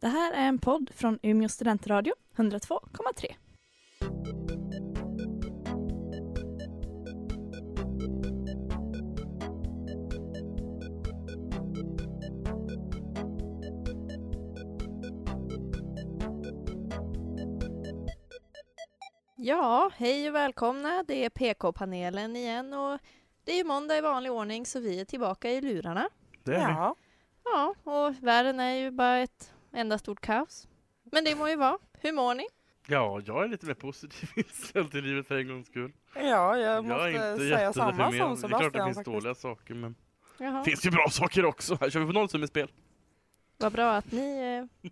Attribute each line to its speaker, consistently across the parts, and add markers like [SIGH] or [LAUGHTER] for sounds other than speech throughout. Speaker 1: Det här är en podd från Umeå studentradio, 102,3.
Speaker 2: Ja, hej och välkomna. Det är PK-panelen igen och det är ju måndag i vanlig ordning så vi är tillbaka i lurarna.
Speaker 3: Det är vi.
Speaker 2: Ja, och världen är ju bara ett enda stort kaos. Men det må ju vara. Hur mår ni?
Speaker 3: Ja, jag är lite mer positiv [LAUGHS] inställd till livet för en gångs skull.
Speaker 4: Ja, jag måste säga samma
Speaker 3: deprimerad.
Speaker 4: som
Speaker 3: Det är
Speaker 4: Sebastian
Speaker 3: klart det finns
Speaker 4: faktiskt.
Speaker 3: dåliga saker, men
Speaker 2: Jaha.
Speaker 3: det finns ju bra [LAUGHS] saker också. Här kör vi på nollsummespel.
Speaker 2: Vad bra att ni, eh,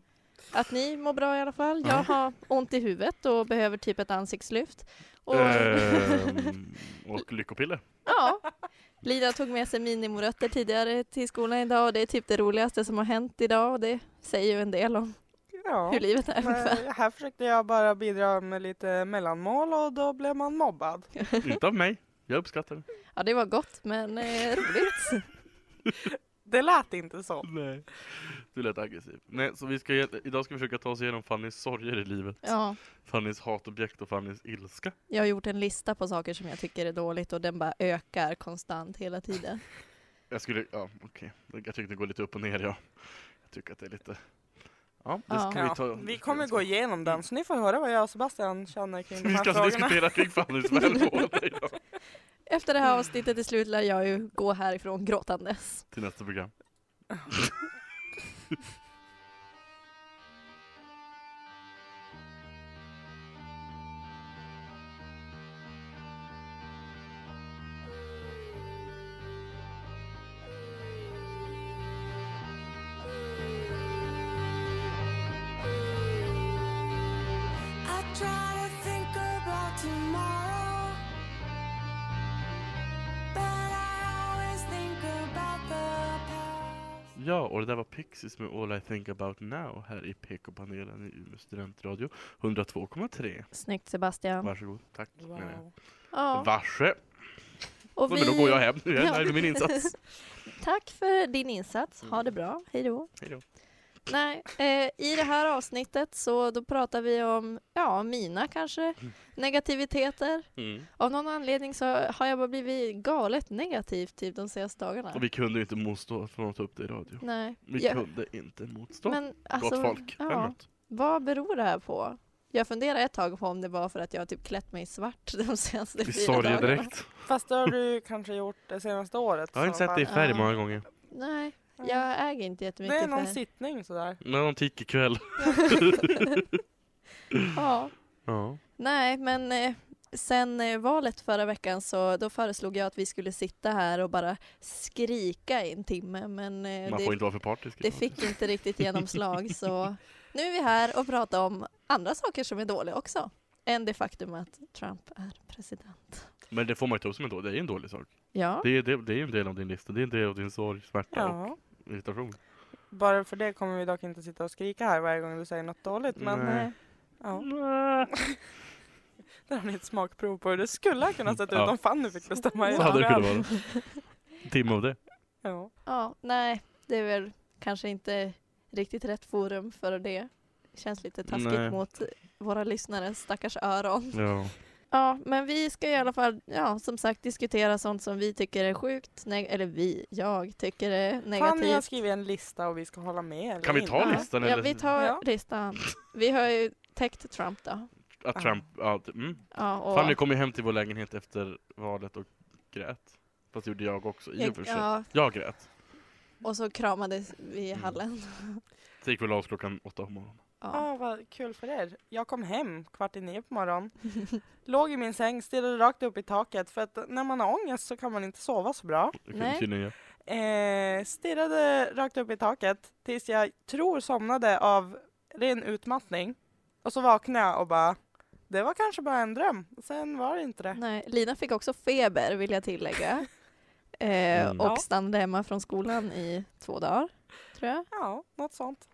Speaker 2: att ni mår bra i alla fall. Jag har ont i huvudet och behöver typ ett ansiktslyft. Och,
Speaker 3: Ehm, och lyckopiller.
Speaker 2: [LAUGHS] ja, Lina tog med sig minimorötter tidigare till skolan idag och det är typ det roligaste som har hänt idag och det säger ju en del om
Speaker 4: Ja.
Speaker 2: hur [LAUGHS] livet är. ungefär.
Speaker 4: Men eh, här försökte jag bara bidra med lite mellanmål och då blev man mobbad.
Speaker 3: Inte av mig. Jag uppskattar det.
Speaker 2: Ja, det var gott men eh, roligt.
Speaker 4: Det lät inte så.
Speaker 3: Nej. Du lät aggressiv. Nej, så vi ska, ge- idag ska vi försöka ta oss igenom Fannys sorger i livet.
Speaker 2: Ja,
Speaker 3: Fannys hatobjekt och Fannys ilska.
Speaker 2: jag har gjort en lista på saker som jag tycker är dåligt och den bara ökar konstant hela tiden.
Speaker 3: Jag skulle, ja okej. Jag tycker det går lite upp och ner ja. Jag tycker att det är lite... Ja, det
Speaker 2: Ja.
Speaker 3: ska vi ta.
Speaker 4: Ja, vi kommer gå igenom den så ni får höra vad jag och Sebastian
Speaker 3: [LAUGHS]
Speaker 4: känner kring de
Speaker 3: Vi
Speaker 4: här
Speaker 3: ska alltså
Speaker 4: frågorna.
Speaker 3: diskutera kring
Speaker 2: [LAUGHS]
Speaker 3: Fannys välmående idag.
Speaker 2: Efter det här avsnittet i slut lär jag ju gå härifrån gråtandes.
Speaker 3: till nästa program.
Speaker 5: I try to think about tomorrow, but I always think about the past.
Speaker 3: Ja, och det där var Pixies med All I Think About Now här i PK-panelen i Umeå studentradio 102,3.
Speaker 2: Snyggt Sebastian.
Speaker 3: Varsågod, tack. menar jag.
Speaker 4: Wow.
Speaker 2: Ja,
Speaker 3: Varse!
Speaker 2: och
Speaker 3: Men då går jag hem, nu är
Speaker 2: Ja.
Speaker 3: jag nöjd med min insats.
Speaker 2: [LAUGHS] Tack för din insats. Ha det bra. Hej då.
Speaker 3: Hej då.
Speaker 2: Nej, eh, i det här avsnittet så då pratar vi om, ja, mina kanske negativiteter.
Speaker 3: Mm.
Speaker 2: Av någon anledning så har jag bara blivit galet negativ typ de senaste dagarna.
Speaker 3: Och vi kunde ju inte motstå från att ta upp det i radio.
Speaker 2: Nej.
Speaker 3: Vi
Speaker 2: jag-
Speaker 3: kunde inte motstå.
Speaker 2: Men alltså,
Speaker 3: Gott folk.
Speaker 2: ja.
Speaker 3: Ja.
Speaker 2: vad beror det här på? Jag funderade ett tag på om det var för att jag har typ klätt mig i svart de senaste
Speaker 3: Vi
Speaker 2: fyra
Speaker 3: sorger
Speaker 2: dagarna.
Speaker 3: direkt.
Speaker 4: Fast det har du kanske gjort det senaste året.
Speaker 3: Jag har inte
Speaker 4: så
Speaker 3: sett det i
Speaker 4: fan.
Speaker 3: färg
Speaker 2: Ja.
Speaker 3: många gånger.
Speaker 2: Nej,
Speaker 4: Ja.
Speaker 2: jag äger inte
Speaker 4: Det
Speaker 2: jättemycket
Speaker 4: är någon
Speaker 2: färg.
Speaker 4: sittning sådär.
Speaker 3: Men någon tiki-kväll.
Speaker 2: Ja.
Speaker 3: Ja.
Speaker 2: Nej, men eh, sen eh, valet förra veckan så då föreslog jag att vi skulle sitta här och bara skrika i en timme, men eh,
Speaker 3: Man
Speaker 2: det,
Speaker 3: får inte vara för partisk. i
Speaker 2: det
Speaker 3: radio.
Speaker 2: fick inte riktigt genomslag så nu är vi här och pratar om andra saker som är dåliga också än det faktum att Trump är president.
Speaker 3: Men det får man ju ta upp som en dålig, det är en dålig sak.
Speaker 2: Ja,
Speaker 3: Det är, det, det är en del av din lista, det är en del av din sorg, smärta
Speaker 4: Ja.
Speaker 3: och irritation.
Speaker 4: Bara för det kommer vi dock inte sitta och skrika här varje gång du säger något dåligt. Men eh,
Speaker 3: Nej.
Speaker 4: ja,
Speaker 3: Mm. Nej.
Speaker 4: där har ni ett smakprov på hur det skulle ha kunnat se ut
Speaker 3: Ja.
Speaker 4: om Fanny fick bestämma. i
Speaker 3: Så hade det
Speaker 4: program.
Speaker 3: kunnat vara.
Speaker 2: [LAUGHS]
Speaker 3: En timme av det.
Speaker 4: Ja.
Speaker 2: ja, nej, det är väl kanske inte riktigt rätt forum för det. Känns lite taskigt
Speaker 3: Nej.
Speaker 2: mot våra lyssnares stackars öron.
Speaker 3: Ja.
Speaker 2: Ja, men vi ska i alla fall, ja, som sagt diskutera sånt som vi tycker är sjukt, neg- eller vi, jag tycker är
Speaker 4: Fanny har
Speaker 2: negativt.
Speaker 4: skrivit en lista och vi ska hålla med. eller
Speaker 3: Kan vi ta
Speaker 4: inte?
Speaker 3: listan?
Speaker 2: ja,
Speaker 3: eller-
Speaker 2: vi tar
Speaker 4: Ja.
Speaker 2: listan. Vi har ju täckt Trump då.
Speaker 3: Att Trump, ja, t- mm.
Speaker 2: Ja, och,
Speaker 3: Fanny kom ju hem till vår lägenhet efter valet och grät. Fast det gjorde jag också i och för sig.
Speaker 2: ja,
Speaker 3: Jag grät.
Speaker 2: och så kramades vi i hallen.
Speaker 3: Det gick väl av klockan åtta på morgonen.
Speaker 2: Ja.
Speaker 4: Ja, vad kul för er. Jag kom hem kvart i nio på morgonen. Låg i min säng, stirrade rakt upp i taket för att när man har ångest så kan man inte sova så bra.
Speaker 3: Det kunde
Speaker 2: Nej.
Speaker 3: tydligen jag.
Speaker 4: Eh, stirrade rakt upp i taket tills jag tror somnade av ren utmattning. Och så vaknade jag och bara, det var kanske bara en dröm. Sen var det inte det.
Speaker 2: Nej, Lina fick också feber vill jag
Speaker 3: [LAUGHS]
Speaker 2: tillägga. Eh,
Speaker 3: Mm.
Speaker 2: Och
Speaker 4: Ja.
Speaker 2: stannade hemma från skolan i två dagar, tror jag.
Speaker 4: Ja, något sånt.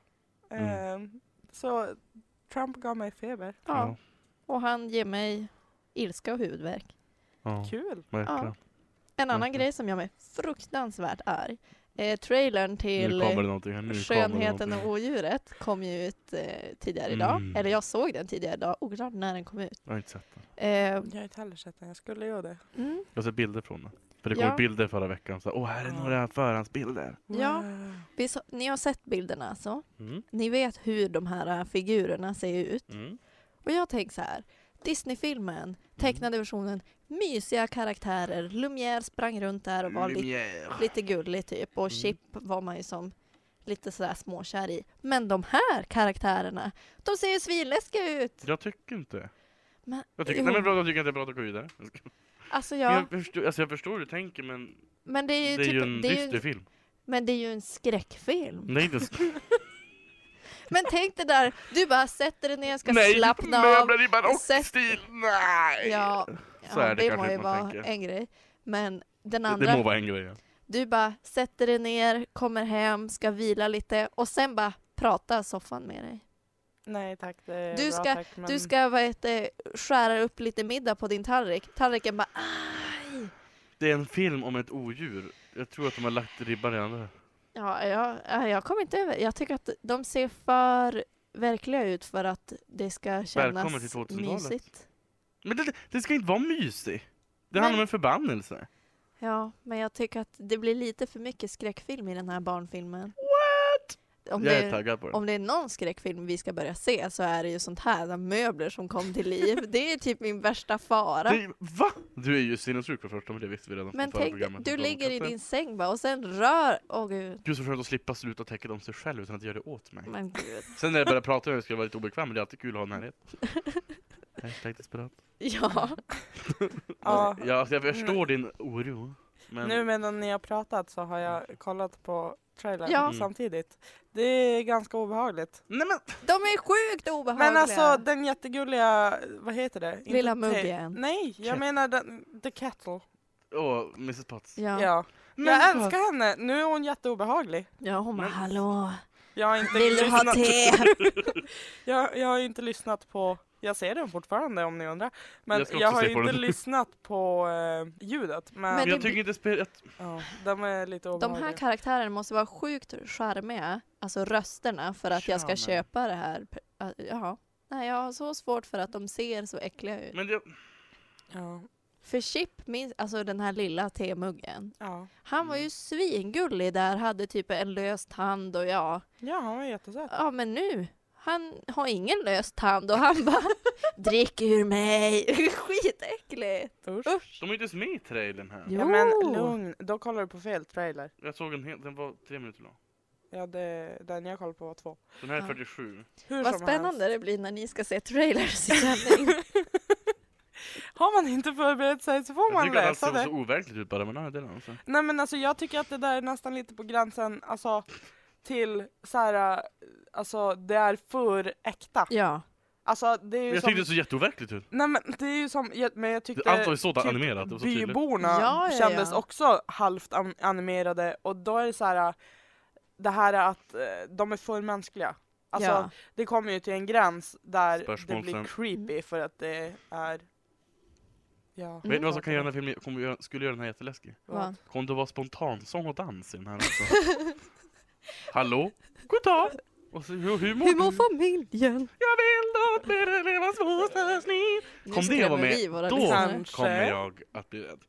Speaker 4: Eh,
Speaker 3: Mm.
Speaker 4: Så Trump gav mig feber.
Speaker 2: Ja. Och han ger mig ilska och huvudvärk.
Speaker 3: Ja.
Speaker 4: Kul!
Speaker 3: Verkligen.
Speaker 2: En annan
Speaker 3: Verkligen.
Speaker 2: grej som gör mig fruktansvärt arg Eh, trailern till
Speaker 3: nu kommer det någonting här. Nu kommer
Speaker 2: Skönheten
Speaker 3: det
Speaker 2: och
Speaker 3: någonting.
Speaker 2: odjuret kom ju ut eh, tidigare idag.
Speaker 3: Mm.
Speaker 2: Eller jag såg den tidigare idag, oklart när den kom ut.
Speaker 3: Jag har inte sett den.
Speaker 2: Eh,
Speaker 4: Jag har inte heller sett den, jag skulle ju det.
Speaker 2: mm.
Speaker 3: Jag har sett bilder från den. För det kom
Speaker 2: Ja.
Speaker 3: bilder förra veckan. Så, Åh, här är
Speaker 4: Ja.
Speaker 3: några förhandsbilder.
Speaker 2: Ja.
Speaker 4: Wow.
Speaker 2: Vi så, ni har sett bilderna alltså?
Speaker 3: Mm.
Speaker 2: Ni vet hur de här eh, figurerna ser ut.
Speaker 3: Mm.
Speaker 2: Och jag tänker så här. Disney-filmen, tecknade versionen, mysiga karaktärer. Lumière sprang runt där och var lite,
Speaker 3: Lumière.
Speaker 2: lite gullig typ. Och
Speaker 3: Mm.
Speaker 2: Chip var man ju som lite sådär småkär i. Men de här karaktärerna, de ser ju svinläskiga ut!
Speaker 3: Jag tycker inte.
Speaker 2: Men,
Speaker 3: Jag tycker,
Speaker 2: jo,
Speaker 3: nej, men bra, jag tycker inte det är bra att gå vidare. Jag ska-
Speaker 2: alltså
Speaker 3: Men
Speaker 2: ja,
Speaker 3: Jag, förstår, alltså jag förstår hur du tänker men
Speaker 2: men det
Speaker 3: det
Speaker 2: är
Speaker 3: är
Speaker 2: ju,
Speaker 3: ju,
Speaker 2: typ,
Speaker 3: en Mm.
Speaker 2: det är ju
Speaker 3: dyster film.
Speaker 2: Men det är ju en skräckfilm.
Speaker 3: Nej,
Speaker 2: [LAUGHS]
Speaker 3: det ska,
Speaker 2: Men tänk det där, du bara sätter dig ner, ska
Speaker 3: nej
Speaker 2: slappna av.
Speaker 3: möbler i barockstil! Nej!
Speaker 2: Ja,
Speaker 3: Så
Speaker 2: ja
Speaker 3: är det
Speaker 2: det
Speaker 3: kanske
Speaker 2: må ju
Speaker 3: man
Speaker 2: vara
Speaker 3: tänker.
Speaker 2: en grej. Men den
Speaker 3: det,
Speaker 2: andra,
Speaker 3: det må vara en grej. ja.
Speaker 2: du bara sätter dig ner, kommer hem, ska vila lite och sen bara pratar soffan med dig.
Speaker 4: Nej tack, det är
Speaker 2: Du
Speaker 4: bra
Speaker 2: ska-
Speaker 4: tack. Men...
Speaker 2: Du ska vad heter, skära upp lite middag på din tallrik. Tallriken bara aj!
Speaker 3: Det är en film om ett odjur. Jag tror att de har lagt ribban redan där.
Speaker 2: Ja, jag, ja, jag kommer inte över. Jag tycker att de ser för verkliga ut för att det ska
Speaker 3: Välkommen till
Speaker 2: kännas
Speaker 3: 2000-talet.
Speaker 2: mysigt.
Speaker 3: Men det, det ska inte vara mysig! Det
Speaker 2: Men-
Speaker 3: handlar om en förbannelse.
Speaker 2: Ja, men jag tycker att det blir lite för mycket skräckfilm i den här barnfilmen. What? Om
Speaker 3: jag är
Speaker 2: det,
Speaker 3: taggad på det.
Speaker 2: om det är någon skräckfilm vi ska börja se så är det ju sånt här, där möbler som kom till liv. Det är typ min värsta fara.
Speaker 3: det. Va? Du är ju sinnessjuk för första men det visste vi redan
Speaker 2: men
Speaker 3: förra
Speaker 2: tänk,
Speaker 3: programmet.
Speaker 2: du
Speaker 3: Att de
Speaker 2: ligger i
Speaker 3: katter-
Speaker 2: din säng bara och sen rör... Åh gud.
Speaker 3: Gud så skönt att slippa sluta täcka om sig själv utan att göra det åt mig.
Speaker 2: Men gud.
Speaker 3: Sen när jag började prata om det skulle jag vara lite obekväm men det är alltid kul att ha närhet. Hashtag desperat.
Speaker 2: Ja.
Speaker 4: ja.
Speaker 3: Ja, alltså jag förstår din oro. Men
Speaker 4: Nu medan ni har pratat så har jag kollat på trailern
Speaker 2: Ja.
Speaker 3: Mm.
Speaker 4: samtidigt. Det är ganska obehagligt.
Speaker 3: Nej, men...
Speaker 2: De är sjukt obehagliga.
Speaker 4: Men alltså den jättegulliga, vad heter det? Inte
Speaker 2: Lilla
Speaker 4: te-
Speaker 2: muggen.
Speaker 4: Nej, jag
Speaker 3: Cat-
Speaker 4: menar den, The Kettle.
Speaker 3: Åh, Mrs Potts.
Speaker 4: Ja.
Speaker 2: Ja. ja.
Speaker 4: jag älskar henne, nu är hon jätteobehaglig.
Speaker 2: hon bara
Speaker 3: Men-
Speaker 2: hallå,
Speaker 4: Jag har inte,
Speaker 2: vill du ha
Speaker 4: lyssnat,
Speaker 2: te?
Speaker 3: typ-
Speaker 4: jag, jag har ju inte lyssnat på, jag ser den fortfarande om ni undrar. Men
Speaker 3: Jag ska
Speaker 4: jag,
Speaker 3: också
Speaker 4: har
Speaker 3: se
Speaker 4: ju
Speaker 3: på [LAUGHS]
Speaker 4: inte
Speaker 3: den.
Speaker 4: lyssnat på eh, ljudet. Men,
Speaker 2: Men
Speaker 3: Men jag
Speaker 2: det-
Speaker 3: tycker inte spelet...
Speaker 4: ja, de är
Speaker 2: [LAUGHS]
Speaker 4: lite
Speaker 2: De här
Speaker 4: obehagliga.
Speaker 2: karaktärerna måste vara sjukt charmiga, alltså rösterna, för att jag ska
Speaker 3: Charmen.
Speaker 2: köpa det här. pe- äh, Ja. Nej, jag har så svårt för att de ser så äckliga ut.
Speaker 3: Men det...
Speaker 4: ja,
Speaker 2: För Chip, min, alltså den här lilla temuggen,
Speaker 4: ja.
Speaker 2: han var ju svingullig där, hade typ en lös tand och ja,
Speaker 4: ja, han var jättesöt.
Speaker 2: ja men nu, han har ingen lös tand och han bara drick ur mig, [LAUGHS] skitäckligt.
Speaker 4: Usch.
Speaker 3: De är inte ens med i trailern här.
Speaker 4: Ja, men lugn, då kollar du på fel trailer.
Speaker 3: Jag såg en hel... Den var tre minuter lång.
Speaker 4: Ja, det, den jag kollar på var två.
Speaker 3: Den här är
Speaker 2: Ja.
Speaker 3: 47.
Speaker 4: Hur
Speaker 2: Vad
Speaker 4: som
Speaker 2: spännande
Speaker 4: helst.
Speaker 2: det blir när ni ska se trailers i sändning.
Speaker 4: Har man inte förberett sig så får
Speaker 3: Jag
Speaker 4: man
Speaker 3: tycker att allt
Speaker 4: läsa
Speaker 3: såg
Speaker 4: det.
Speaker 3: så overkligt ut bara, men nej, det är alltså.
Speaker 4: Nej men alltså jag tycker att det där är nästan lite på gränsen, alltså till så här, äh, alltså det är för äkta.
Speaker 2: ja.
Speaker 4: Alltså det är ju
Speaker 3: Jag
Speaker 4: som,
Speaker 3: tyckte det såg jätteoverkligt ut.
Speaker 4: nej men det är ju som, jag, men jag tyckte
Speaker 3: Allt var ju så
Speaker 4: typ
Speaker 3: animerat, det var så tydligt.
Speaker 4: byborna
Speaker 2: Ja, ja,
Speaker 4: kändes
Speaker 2: ja.
Speaker 4: också halvt an- animerade och då är det så här, äh, det här är att äh, de är för mänskliga. Alltså
Speaker 2: ja.
Speaker 4: det kommer ju till en gräns där det
Speaker 3: Spörsmål
Speaker 4: blir
Speaker 3: sen.
Speaker 4: creepy för att det är, ja.
Speaker 2: Mm.
Speaker 3: Vet ni vad som kan göra den här filmen, kommer göra, skulle göra den här jätteläskig?
Speaker 2: Vad?
Speaker 3: Kommer det vara spontansång och dans i den här
Speaker 4: [LAUGHS]
Speaker 3: också? Hallå? God dag! Och så, hur, hur mår
Speaker 2: Hur mår
Speaker 3: du?
Speaker 2: familjen?
Speaker 3: Jag vill låt mig leva småstadsliv Kom det att vara med,
Speaker 2: våra
Speaker 3: då
Speaker 2: lyssnare.
Speaker 4: Kanske.
Speaker 3: kommer jag att bli rädd.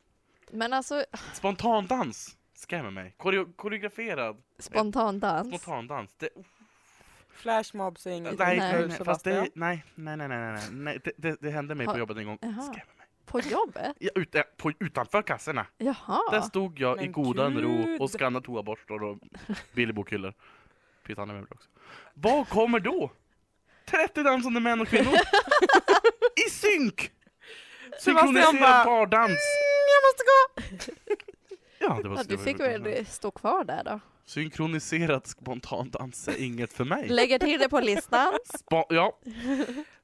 Speaker 2: Men alltså,
Speaker 3: Spontandans skrämmer mig. Koreo- koreograferad
Speaker 2: spontan dans.
Speaker 3: spontandans. Det, oh,
Speaker 4: Flashmobs är
Speaker 3: nej,
Speaker 4: inget
Speaker 3: nej,
Speaker 4: för
Speaker 3: nej, fast
Speaker 4: Sebastian.
Speaker 3: det, nej, nej, nej, nej, nej, nej. Det, det, det hände mig
Speaker 2: Har-
Speaker 3: på jobbet en gång.
Speaker 2: Jaha.
Speaker 3: Skrämmer mig.
Speaker 2: På jobbet?
Speaker 3: Ja, ut, äh, på, utanför kassorna. Där
Speaker 2: Jaha.
Speaker 3: stod jag i
Speaker 4: Men
Speaker 3: godan ro
Speaker 4: gud.
Speaker 3: och skannade toaborstar och billigbokhyllor. Pyttipanna med också. Vad kommer då? 30 dansande män
Speaker 2: [LAUGHS]
Speaker 3: och kvinnor. I synk!
Speaker 4: Sebastian bara,
Speaker 3: Synkroniserad pardans.
Speaker 4: Jag måste gå!
Speaker 3: Ja, det var
Speaker 2: Ja,
Speaker 3: så det
Speaker 2: du
Speaker 3: var
Speaker 2: fick
Speaker 3: roligt.
Speaker 2: väl stå kvar där då?
Speaker 3: Synkroniserad spontandans är inget för mig.
Speaker 2: Lägger till det på listan.
Speaker 3: Spa- ja,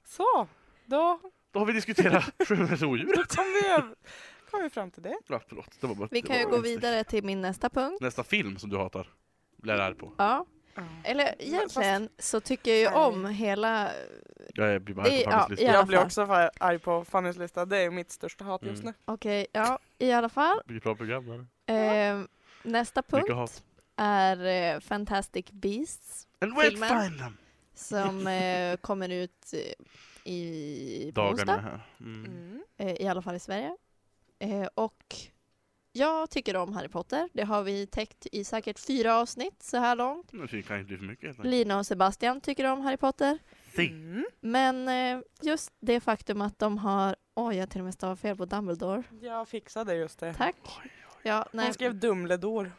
Speaker 4: Så, då
Speaker 3: då har vi diskuterat [LAUGHS] sjöodjuret.
Speaker 4: kom vi, över- [LAUGHS] kom vi fram till det.
Speaker 3: Ja, förlåt. Det var bara,
Speaker 2: Vi
Speaker 3: det
Speaker 2: kan ju
Speaker 3: var
Speaker 2: gå
Speaker 3: bara-
Speaker 2: vidare till min nästa punkt.
Speaker 3: Nästa film som du hatar. Blir arg på.
Speaker 2: Ja.
Speaker 4: Ja.
Speaker 2: Eller egentligen så tycker jag ju
Speaker 4: Nej.
Speaker 2: om hela...
Speaker 3: Jag blir bara
Speaker 2: Det-
Speaker 3: arg
Speaker 2: ja,
Speaker 3: på Fannys lista.
Speaker 2: alla
Speaker 4: Jag blir
Speaker 2: fall.
Speaker 4: också fa- arg på Fannys lista, det är mitt största hat just nu.
Speaker 3: Mm.
Speaker 2: Okej, ja, i alla fall.
Speaker 3: Det blir ett bra program. där.
Speaker 2: Ehm, nästa
Speaker 3: Mycket
Speaker 2: punkt
Speaker 3: hat.
Speaker 2: är eh, Fantastic Beasts
Speaker 3: And we'll
Speaker 2: Filmen.
Speaker 3: find them!
Speaker 2: som
Speaker 3: [LAUGHS]
Speaker 2: eh, kommer ut eh, i på
Speaker 3: Dagarna är
Speaker 2: onsdag,
Speaker 3: här. Mm.
Speaker 4: Mm.
Speaker 2: eh, i alla fall i Sverige. Eh, och jag tycker om Harry Potter. Det har vi täckt i säkert fyra avsnitt så här långt.
Speaker 3: Men Det kan inte bli för mycket helt enkelt.
Speaker 2: Lina och Sebastian tycker om Harry Potter.
Speaker 3: Si.
Speaker 4: Mm.
Speaker 2: Men eh, just det faktum att de har... Oj, jag har till och med stavat fel på Dumbledore.
Speaker 4: Jag fixade just det.
Speaker 2: Tack.
Speaker 3: Oj,
Speaker 2: Ja,
Speaker 4: Hon
Speaker 2: nej.
Speaker 4: skrev Dumledor.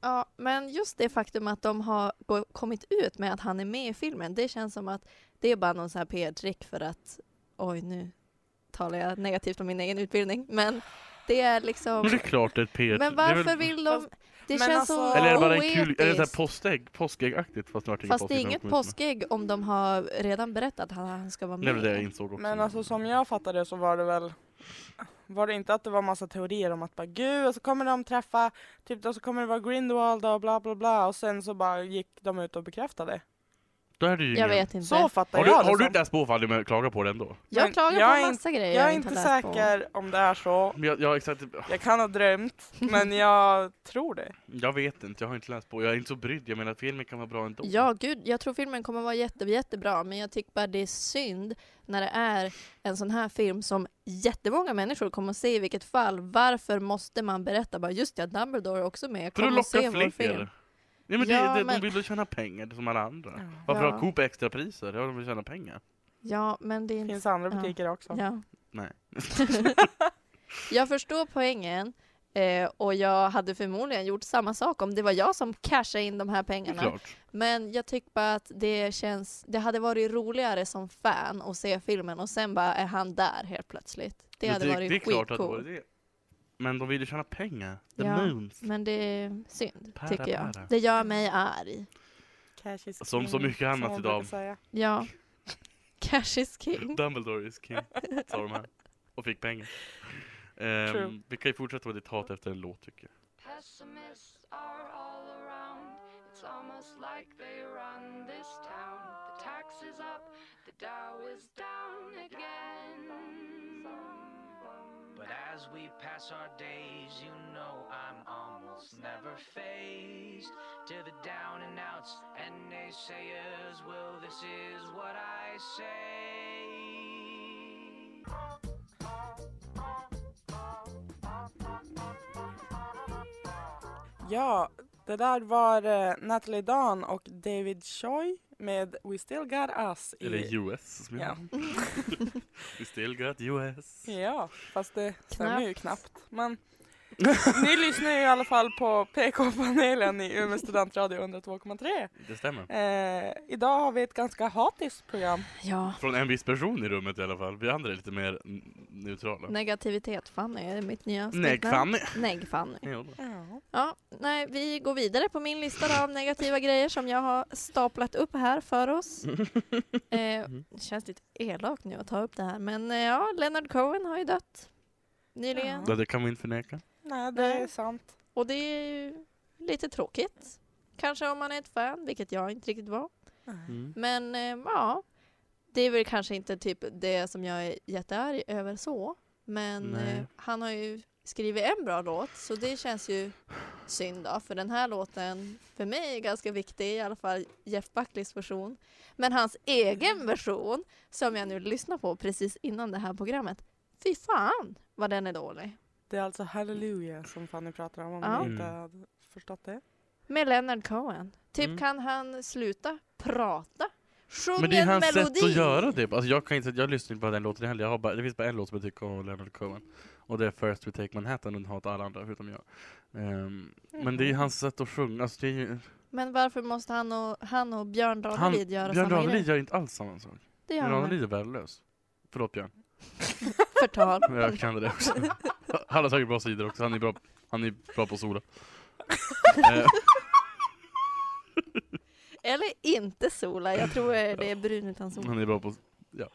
Speaker 2: Ja, men just det faktum att de har gå- kommit ut med att han är med i filmen, det känns som att det är bara någon sån här PR-trick för att oj, nu talar jag negativt om min egen utbildning, men det är liksom...
Speaker 3: Men det är klart det är ett
Speaker 2: Men
Speaker 3: P1. Det är
Speaker 2: varför
Speaker 3: väl-
Speaker 2: vill de... Det
Speaker 4: men
Speaker 2: känns
Speaker 4: alltså-
Speaker 2: så
Speaker 3: Eller är det bara en kul...
Speaker 2: oetiskt.
Speaker 3: Är det så här påskägg? Påskäggaktigt? Fast det har
Speaker 2: Fast det är inget påskägg om de har redan berättat att han ska vara
Speaker 3: Det är
Speaker 2: med.
Speaker 3: väl det jag insåg också.
Speaker 4: Men alltså som jag fattade så var det väl var det inte att det var massa teorier om att bara gud och så kommer de träffa typ och så kommer det vara Grindelwald och bla bla bla och sen så bara gick de ut och bekräftade
Speaker 3: Då är det ju
Speaker 2: jag
Speaker 3: ingen-
Speaker 2: vet
Speaker 4: det.
Speaker 2: inte.
Speaker 4: Så fattar
Speaker 3: Har du,
Speaker 4: jag
Speaker 3: har du
Speaker 4: det som.
Speaker 3: läst på ifall du klagar på det ändå?
Speaker 2: Jag
Speaker 4: Men
Speaker 2: klagar
Speaker 4: jag
Speaker 2: på
Speaker 4: är
Speaker 2: en massa grejer
Speaker 4: Jag är
Speaker 2: inte
Speaker 4: inte
Speaker 2: har läst på.
Speaker 4: säker om det är så.
Speaker 3: Men jag, jag, exakt,
Speaker 4: Jag kan ha drömt
Speaker 2: [LAUGHS]
Speaker 4: men jag tror det.
Speaker 3: jag vet inte, jag har inte läst på. Jag är inte så brydd. Jag menar filmen kan vara bra ändå.
Speaker 2: Ja, gud, jag tror filmen kommer vara jätte, jättebra, men jag tycker bara det är synd när det är en sån här film som jättemånga människor kommer att se i vilket fall. Varför måste man berätta bara just ja, Dumbledore är också med,
Speaker 3: För att
Speaker 2: kom och se
Speaker 3: locka
Speaker 2: vår film.
Speaker 3: fler. Ja, men det,
Speaker 2: Ja,
Speaker 3: det,
Speaker 2: men-
Speaker 3: De vill ju tjäna pengar det är som alla andra.
Speaker 4: Ja.
Speaker 3: Varför
Speaker 2: Ja.
Speaker 3: har Coop extra priser? Ja, de vill tjäna pengar.
Speaker 2: Ja, men det är
Speaker 4: Det
Speaker 2: inte...
Speaker 4: finns andra
Speaker 2: Ja.
Speaker 4: butiker också.
Speaker 2: Ja.
Speaker 3: Nej.
Speaker 2: [LAUGHS] jag förstår poängen. Eh, och jag hade förmodligen gjort samma sak om det var jag som cashade in de här
Speaker 3: Det är
Speaker 2: pengarna.
Speaker 3: klart.
Speaker 2: Men jag tycker bara att det känns, det hade varit roligare som fan att se filmen och sen bara är han där helt plötsligt. Det
Speaker 3: Men
Speaker 2: hade varit
Speaker 3: det är klart att det var
Speaker 2: skitcoolt.
Speaker 3: det. Men de vill ju tjäna pengar. The
Speaker 2: Ja.
Speaker 3: moons.
Speaker 2: Men det är synd,
Speaker 3: Para,
Speaker 2: tycker jag.
Speaker 3: para.
Speaker 2: Det gör mig arg.
Speaker 4: Cash is
Speaker 3: Som så
Speaker 4: king,
Speaker 3: mycket annat
Speaker 4: man
Speaker 3: idag.
Speaker 4: brukar säga.
Speaker 3: [LAUGHS]
Speaker 2: Ja. Cash is king.
Speaker 3: Dumbledore is king, sa de här. Och fick pengar. Ehm,
Speaker 4: True.
Speaker 3: vi kan ju fortsätta med ditt hat efter en låt tycker jag.
Speaker 6: Pessimists are all around. It's almost like they run this town. The tax is up, the Dow is down again.
Speaker 7: But as we pass our days, you know I'm almost never phased to the down and outs and naysayers. Well, this is what I say.
Speaker 4: Ja, det där var eh, Natalie Dan och David Choi med We still got us. i-
Speaker 3: Eller US som jag
Speaker 4: Ja.
Speaker 3: [LAUGHS] We still got US.
Speaker 4: Ja, fast det stämmer ju
Speaker 2: Knappt.
Speaker 4: knappt. Men [LAUGHS] ni lyssnar ju i alla fall på PK-panelen i Umeå studentradio 102,3.
Speaker 3: Det stämmer.
Speaker 4: Eh, idag har vi ett ganska hatiskt program.
Speaker 2: Ja.
Speaker 3: Från en viss person i rummet i alla fall. Vi andra är lite mer n- neutrala.
Speaker 2: Negativitet Fanny är mitt nya
Speaker 3: Nej,
Speaker 2: smeknamn.
Speaker 3: Fanny.
Speaker 2: Neg Fanny.
Speaker 3: Ja.
Speaker 2: Ja, nej, vi går vidare på min lista då av negativa grejer som jag har staplat upp här för oss. Eh, det känns lite elakt nu att ta upp det här, men eh, ja, Leonard Cohen har ju dött nyligen.
Speaker 3: Ja, det kan vi inte förneka.
Speaker 4: Nej, det är sant.
Speaker 2: Och det är ju lite tråkigt. Kanske om man är ett fan, vilket jag inte riktigt var.
Speaker 3: Mm.
Speaker 2: Men eh, ja, det är väl kanske inte typ det som jag är jättearg över så. Men
Speaker 3: Nej.
Speaker 2: eh, han har ju skrivit en bra låt så det känns ju synd då. För den här låten för mig är ganska viktig, i alla fall Jeff Buckleys version. Men hans egen version som jag nu lyssnar på precis innan det här programmet. Fy fan vad den är dålig.
Speaker 4: Det är alltså Hallelujah som Fanny pratar om, om
Speaker 2: Ja.
Speaker 4: ni inte
Speaker 3: Mm.
Speaker 4: hade förstått
Speaker 3: [LAUGHS]
Speaker 4: det.
Speaker 2: Med Leonard Cohen. Typ
Speaker 3: Mm.
Speaker 2: kan han sluta prata? Sjung
Speaker 3: Men det är
Speaker 2: en
Speaker 3: hans
Speaker 2: melodi!
Speaker 3: sätt att göra det. Alltså, jag, kan inte, jag lyssnar inte på den låten heller. Jag har bara, det finns bara en låt som jag tycker om av Leonard Cohen. Och det är First We Take Manhattan. Och den hatar alla andra förutom jag. Ehm, Men det är hans sätt att sjunga. Alltså, det är ju,
Speaker 2: Men varför måste han och, han och Björn
Speaker 3: han,
Speaker 2: Ranelid göra
Speaker 3: Björn
Speaker 2: samma grej?
Speaker 3: Ranelid gör inte alls samma sak.
Speaker 2: Det gör
Speaker 3: Björn
Speaker 2: han
Speaker 3: Ranelid är värdelös. Förlåt Björn. [LAUGHS]
Speaker 2: Förtal.
Speaker 3: Men Jag kan
Speaker 2: [LAUGHS]
Speaker 3: det också. Han har säkert bra sidor också. Han är bra, han är bra på
Speaker 2: [LAUGHS]
Speaker 3: att sola. Eh,
Speaker 2: Eller inte sola, jag
Speaker 3: [LAUGHS]
Speaker 2: tror eh, det är brun utan sol.
Speaker 3: han är bra på... Ja.